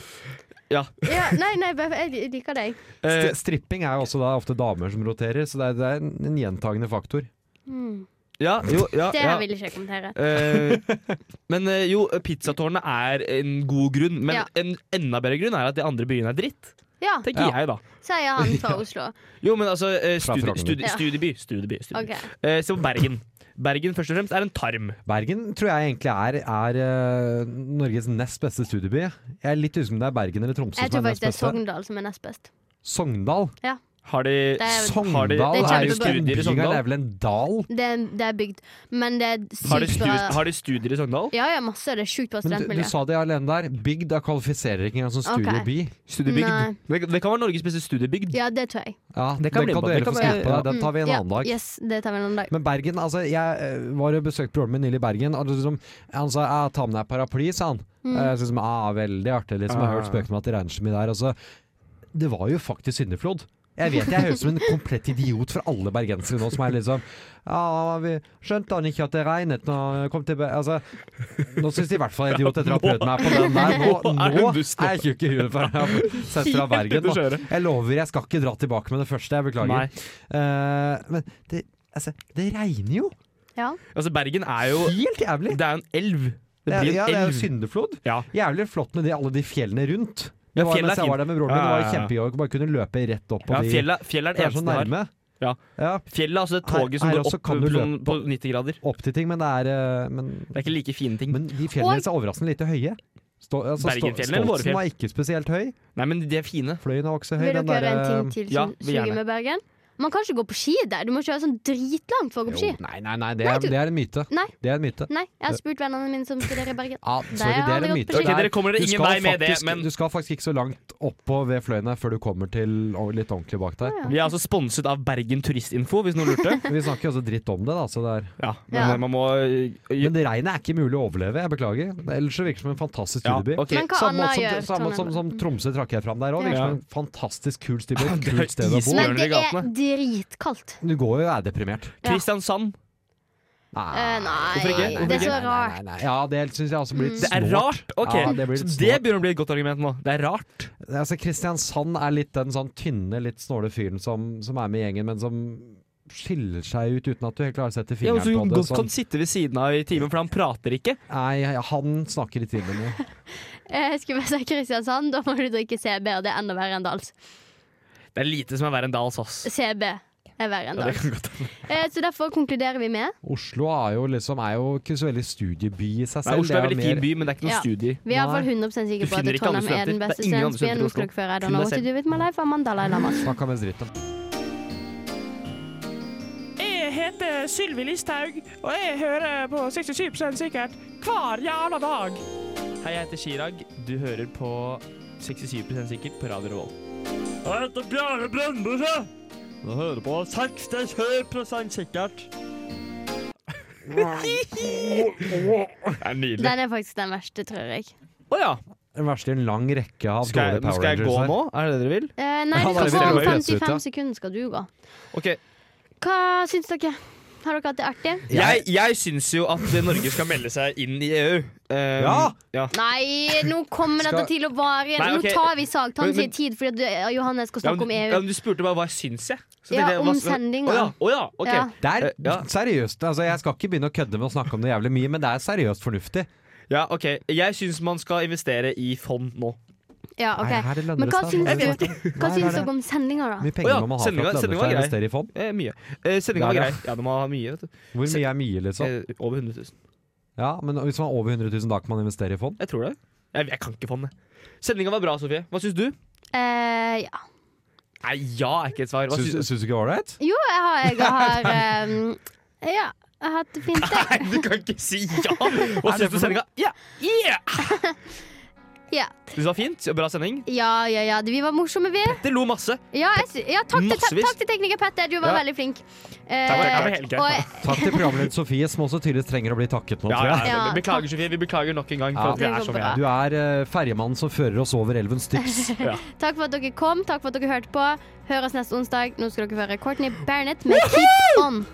Speaker 3: Ja, nei, nei, jeg jeg liker deg.
Speaker 5: Eh,
Speaker 4: St stripping er jo også da ofte damer som roterer, så det er, det er en, en gjentagende faktor.
Speaker 3: Mm.
Speaker 5: ja, jo, ja,
Speaker 3: Det
Speaker 5: ja.
Speaker 3: her vil ikke jeg kommentere.
Speaker 5: Eh, men eh, jo, pizzatårnet er en god grunn, men
Speaker 3: Ja.
Speaker 5: en enda bedre grunn er at de andre byene er dritt.
Speaker 3: Ja,
Speaker 5: Tenker jeg, da.
Speaker 3: sier han fra Oslo.
Speaker 5: Jo, men altså eh,
Speaker 4: Fra
Speaker 5: studi,
Speaker 4: Frogner.
Speaker 5: studi,
Speaker 3: Ja.
Speaker 5: Studieby. studieby, studieby.
Speaker 3: Ok.
Speaker 5: Eh, se på Bergen. Bergen først og fremst er en tarm.
Speaker 4: Bergen tror jeg egentlig er, er eh, Norges nest beste studieby. Jeg er litt usikker på om det er Bergen eller Tromsø
Speaker 3: Jeg
Speaker 4: som
Speaker 3: tror
Speaker 4: er nest
Speaker 3: faktisk det er
Speaker 4: beste.
Speaker 3: Sogndal som er nest best.
Speaker 4: Sogndal?
Speaker 5: Har de
Speaker 3: er-
Speaker 5: har de, liksom
Speaker 4: Sogndal
Speaker 3: Det
Speaker 4: er,
Speaker 3: er
Speaker 4: jo ikke en
Speaker 5: studier
Speaker 4: by
Speaker 5: i
Speaker 4: engang, det
Speaker 5: Sogndal?
Speaker 4: er vel en dal?
Speaker 3: Det, er- det er bygd, men det er
Speaker 5: Har de,
Speaker 3: sykt
Speaker 5: stu,
Speaker 3: bra.
Speaker 5: har de studier i Sogndal?
Speaker 3: Ja, ja, masse. Det er sjukt bra
Speaker 4: Men du,
Speaker 3: studentmiljø.
Speaker 4: du sa det alene der. Bygd da kvalifiserer ikke engang som
Speaker 3: Ok.
Speaker 4: studieby.
Speaker 3: Nei.
Speaker 5: Studiebygd. Det, det kan være Norges beste studiebygd.
Speaker 3: Ja, det tror jeg. Mm.
Speaker 4: Ja,
Speaker 5: Det kan bli
Speaker 4: den
Speaker 5: bra.
Speaker 4: kan du
Speaker 5: Det
Speaker 4: heller
Speaker 5: kan
Speaker 4: få skrive
Speaker 5: være-
Speaker 4: på deg. Den tar vi en
Speaker 3: Ja,
Speaker 4: annen dag.
Speaker 3: Yes, det tar vi en annen dag.
Speaker 4: Men Bergen, altså Jeg eh, var og besøkte broren min nylig i Bergen. Og liksom, han sa «Ja, 'ta med deg paraply', sa han. Mm. Jeg synes, ah, veldig artig, liksom. Jeg har
Speaker 5: Ah.
Speaker 4: hørt spøkene om at det regner så mye der. Og så Det var jo faktisk syndeflod. Jeg vet jeg høres ut som en komplett idiot for alle bergensere nå, som er liksom Ja, vi skjønte han ikke at det regnet når jeg kom til Be Altså, nå syns de i hvert fall jeg er idiot etter å ha prøvd meg på den der. Nå, nå er jeg tjukk i huet for jeg har sett fra Bergen. Da. Jeg lover, jeg skal ikke dra tilbake med det første. Jeg beklager.
Speaker 5: Nei.
Speaker 4: Eh, men det, altså, det regner jo
Speaker 3: Ja.
Speaker 5: Altså, Bergen er jo
Speaker 4: helt jævlig.
Speaker 5: Det er jo en elv. Det
Speaker 4: Det er,
Speaker 5: blir
Speaker 4: ja,
Speaker 5: en
Speaker 4: det er jo
Speaker 5: elv.
Speaker 4: syndeflod.
Speaker 5: Ja.
Speaker 4: Jævlig flott med de, alle de fjellene rundt.
Speaker 5: Ja,
Speaker 4: Det var,
Speaker 5: fjellet
Speaker 4: mens
Speaker 5: er
Speaker 4: jeg
Speaker 5: fint.
Speaker 4: var der med broren min, det var jo
Speaker 5: Ja, ja, ja.
Speaker 4: kjempegøy å bare kunne løpe rett opp på
Speaker 5: Ja,
Speaker 4: de
Speaker 5: fjellet, fjellet er
Speaker 4: Det
Speaker 5: det
Speaker 4: er
Speaker 5: eneste
Speaker 4: så
Speaker 5: den har.
Speaker 4: nærme.
Speaker 5: Ja.
Speaker 4: Ja,
Speaker 5: Fjellet er altså det toget som
Speaker 4: Her- her
Speaker 5: går
Speaker 4: også
Speaker 5: opp
Speaker 4: kan du
Speaker 5: på, sånn,
Speaker 4: løpe.
Speaker 5: på 90 grader.
Speaker 4: opp til ting, men det er eh, Men,
Speaker 5: Det er ikke like fine ting.
Speaker 4: men de fjellene
Speaker 3: Og-
Speaker 4: deres er overraskende lite høye. Stå, altså, Stå,
Speaker 5: Bergenfjellene eller våre fjell?
Speaker 4: Stoltsen var ikke spesielt høy.
Speaker 5: Nei, men de er fine.
Speaker 4: Fløyen var ikke så høy.
Speaker 3: Vil dere
Speaker 4: Den
Speaker 3: gjøre
Speaker 4: der,
Speaker 3: en ting
Speaker 4: eh,
Speaker 3: til
Speaker 5: ja,
Speaker 3: som
Speaker 5: vil
Speaker 3: suger
Speaker 5: gjerne.
Speaker 3: med Bergen? Man kan ikke gå på ski der. Du må kjøre sånn dritlangt for å gå på ski.
Speaker 4: jo, nei, nei, nei, det er,
Speaker 3: Nei, du-
Speaker 4: det er en myte.
Speaker 3: Nei.
Speaker 4: Det er en myte.
Speaker 3: Nei, jeg har spurt vennene mine som studerer i Bergen.
Speaker 4: Ja,
Speaker 3: Nei,
Speaker 4: sorry,
Speaker 3: jeg
Speaker 4: det
Speaker 3: har
Speaker 4: er en
Speaker 3: aldri gått
Speaker 4: myte.
Speaker 3: på ski.
Speaker 5: Ok, dere kommer dere
Speaker 4: Du
Speaker 5: ingen
Speaker 4: skal
Speaker 5: vei med det,
Speaker 4: faktisk-
Speaker 5: men-
Speaker 4: Du skal faktisk ikke så langt oppå ved fløyene før du kommer til og litt ordentlig bak der.
Speaker 5: Vi er altså sponset av Bergen Turistinfo, hvis noen lurte.
Speaker 4: Vi snakker jo også dritt om det, da. Så det er.
Speaker 5: Ja, men
Speaker 3: Ja.
Speaker 5: man må øh,
Speaker 4: Men det regnet er ikke mulig å overleve, jeg beklager. Ellers så virker det som en fantastisk
Speaker 5: Ja,
Speaker 4: studieby.
Speaker 5: ok.
Speaker 3: Men hva
Speaker 4: Samme,
Speaker 3: annet gjør
Speaker 4: som, samme som,
Speaker 3: Trondheim?
Speaker 4: som Tromsø trakk jeg fram der òg. Virker
Speaker 5: Ja.
Speaker 4: som en fantastisk kul studieby. et
Speaker 5: Det er
Speaker 4: Kult sted å bo.
Speaker 5: isbjørn.
Speaker 3: Men det
Speaker 5: Bjørner i
Speaker 3: er
Speaker 5: gatene.
Speaker 3: dritkaldt.
Speaker 4: Du går jo og er deprimert.
Speaker 5: Kristiansand.
Speaker 3: Eh, nei,
Speaker 5: Ah, Hvorfor ikke?
Speaker 3: det er så
Speaker 4: Nei, nei,
Speaker 3: rart. Mm.
Speaker 4: nei, nei. Ja, det syns jeg også blir litt
Speaker 5: Det er
Speaker 4: snålt.
Speaker 5: rart! Ok,
Speaker 4: Ja, det blir litt
Speaker 5: Så det
Speaker 4: snålt.
Speaker 5: begynner å bli et godt argument nå. Det er rart.
Speaker 4: Altså, Kristiansand er litt den sånn tynne, litt snåle fyren som, som er med i gjengen, men som skiller seg ut uten at du helt klarer å sette
Speaker 5: Ja,
Speaker 4: fingeren
Speaker 5: men så
Speaker 4: på det.
Speaker 5: godt
Speaker 4: Sånn.
Speaker 5: kan sitte ved siden av i timen, for han prater ikke.
Speaker 4: Nei, han snakker i timen nå.
Speaker 3: Jeg skulle bare si Kristiansand, da må du drikke CB, og det er enda verre enn Dals.
Speaker 5: Det er lite som er verre enn Dals, ass.
Speaker 3: CB er verre enn
Speaker 5: Ja, det
Speaker 3: Dals.
Speaker 5: kan godt hende.
Speaker 3: Eh, Så derfor konkluderer vi med
Speaker 4: Oslo er jo liksom er jo ikke så veldig studieby i seg
Speaker 5: Nei,
Speaker 4: selv.
Speaker 5: Oslo er en
Speaker 4: Det
Speaker 5: veldig
Speaker 4: mer-
Speaker 5: fin by, men det er ikke noen
Speaker 3: Ja.
Speaker 5: studier.
Speaker 3: Vi er iallfall
Speaker 4: Nei.
Speaker 3: 100 sikre
Speaker 5: Du
Speaker 3: på at
Speaker 5: finner ikke andre
Speaker 3: Trondheim er den
Speaker 5: studenter.
Speaker 3: beste
Speaker 5: Det er ingen andre
Speaker 3: studentbyen.
Speaker 5: studenter i
Speaker 3: Nå
Speaker 5: Oslo.
Speaker 3: skal dere føre I
Speaker 5: Kun
Speaker 3: don't know
Speaker 5: deg
Speaker 3: what to
Speaker 5: selv.
Speaker 3: do with my life, Amanda Lailama.
Speaker 4: Snakka mens dritt om.
Speaker 1: Jeg heter Sylvi Listhaug, og jeg hører på 67 sikkert hver jævla dag.
Speaker 5: Hei, jeg heter Chirag. Du hører på 67 sikkert på Radio Revolt.
Speaker 7: Jeg heter Bjarne Brøndbøse. Du hører på 67 sikkert.
Speaker 5: Det er nydelig.
Speaker 3: Den er faktisk den verste, tror jeg.
Speaker 5: Å ja.
Speaker 4: Den verste i en lang rekke av
Speaker 5: Skal
Speaker 4: dårlige
Speaker 5: jeg,
Speaker 4: Power
Speaker 5: skal jeg
Speaker 4: Rangers.
Speaker 5: gå
Speaker 4: her.
Speaker 5: nå? Er det det dere vil?
Speaker 3: Eh, Nei,
Speaker 4: Ja,
Speaker 3: du
Speaker 4: da er
Speaker 3: skal
Speaker 4: vi
Speaker 3: få
Speaker 4: veldig løse ut,
Speaker 3: 55
Speaker 4: ja.
Speaker 3: sekunder, skal du gå.
Speaker 5: Ok.
Speaker 3: Hva syns dere? Har dere hatt det artig?
Speaker 5: Jeg, jeg syns jo at Norge skal melde seg inn i EU. eh,
Speaker 4: Ja!
Speaker 5: ja.
Speaker 3: Nei, nå kommer dette
Speaker 5: Skal-
Speaker 3: til å vare.
Speaker 5: Nei, ok.
Speaker 3: Nå tar vi sag. Ta
Speaker 5: Men-
Speaker 3: oss
Speaker 5: men-
Speaker 3: litt tid, fordi at du- Johannes skal
Speaker 5: Ja, men,
Speaker 3: snakke om
Speaker 5: ja,
Speaker 3: EU.
Speaker 5: men du spurte bare hva syns jeg. Så
Speaker 3: Ja,
Speaker 5: tenkte jeg, hva-
Speaker 3: om sendinga.
Speaker 5: Å ja, å ja, ok.
Speaker 3: Ja.
Speaker 4: Det er
Speaker 5: Eh, Ja.
Speaker 4: seriøst. Altså, jeg skal ikke begynne å kødde med å snakke om det jævlig mye, men det er seriøst fornuftig.
Speaker 5: Ja, ok. Jeg syns man skal investere i fond nå.
Speaker 3: Ja, ok.
Speaker 4: Nei, her er det
Speaker 3: Men hva
Speaker 4: Lønnerødstad.
Speaker 3: syns
Speaker 4: Her er
Speaker 3: du, hva
Speaker 4: Nei,
Speaker 3: syns
Speaker 4: det er
Speaker 3: dere om sendinga,
Speaker 4: Hvor
Speaker 3: da?
Speaker 4: mye
Speaker 5: Å
Speaker 4: penger
Speaker 5: ja,
Speaker 4: må man ha
Speaker 5: sendinga-
Speaker 4: for at
Speaker 5: sendinga var
Speaker 4: Lønnerødstad
Speaker 5: grei.
Speaker 4: investerer i fond?
Speaker 5: Eh, mye. Eh, Sendinga
Speaker 4: Ja,
Speaker 5: var
Speaker 4: ja.
Speaker 5: grei. Ja, de må ha mye. vet du.
Speaker 4: Hvor mye er mye, liksom?
Speaker 5: Eh, Over 100 000.
Speaker 4: Ja, men hvis man har over 100 000, da kan man investere i fond?
Speaker 5: Jeg tror det. Jeg, jeg kan ikke fondet. Sendinga var bra, Sofie. Hva syns du?
Speaker 3: Eh, ja.
Speaker 5: Nei, ja er ikke et svar. Hva
Speaker 4: Syns
Speaker 5: syns du?
Speaker 4: syns du ikke det var ålreit?
Speaker 3: Jo, jeg har, jeg har ehm, Ja, jeg har hatt det fint,
Speaker 5: Nei,
Speaker 3: jeg.
Speaker 5: du kan ikke si ja! Hva syns du sendinga? Ja! Yeah!
Speaker 3: Ja.
Speaker 5: Du sa fint. Bra sending.
Speaker 3: Ja, ja, ja. Vi var morsomme, vi.
Speaker 5: Det lo masse.
Speaker 3: Ja, jeg, sy- ja takk, til,
Speaker 5: Massevis.
Speaker 3: takk til tekniker Petter. Du var
Speaker 5: Ja.
Speaker 3: veldig flink.
Speaker 5: for det.
Speaker 3: Eh,
Speaker 5: Det var helt greit.
Speaker 3: og jeg-
Speaker 4: Takk til programleder Sofie, som også tydeligvis trenger å bli takket nå,
Speaker 5: Ja,
Speaker 4: tror
Speaker 5: ja,
Speaker 4: jeg.
Speaker 5: ja.
Speaker 3: Ja,
Speaker 5: Beklager, Sofie. Vi beklager nok en gang for
Speaker 4: Ja.
Speaker 5: at vi
Speaker 3: Det
Speaker 5: er
Speaker 3: går
Speaker 5: som vi
Speaker 3: bra.
Speaker 5: er.
Speaker 4: Du er eh, ferjemannen som fører oss over elven Styx.
Speaker 3: Takk for at dere kom, takk for at dere hørte på. Hør oss neste onsdag. Nå skal dere høre Courtney Barnett med Keep On.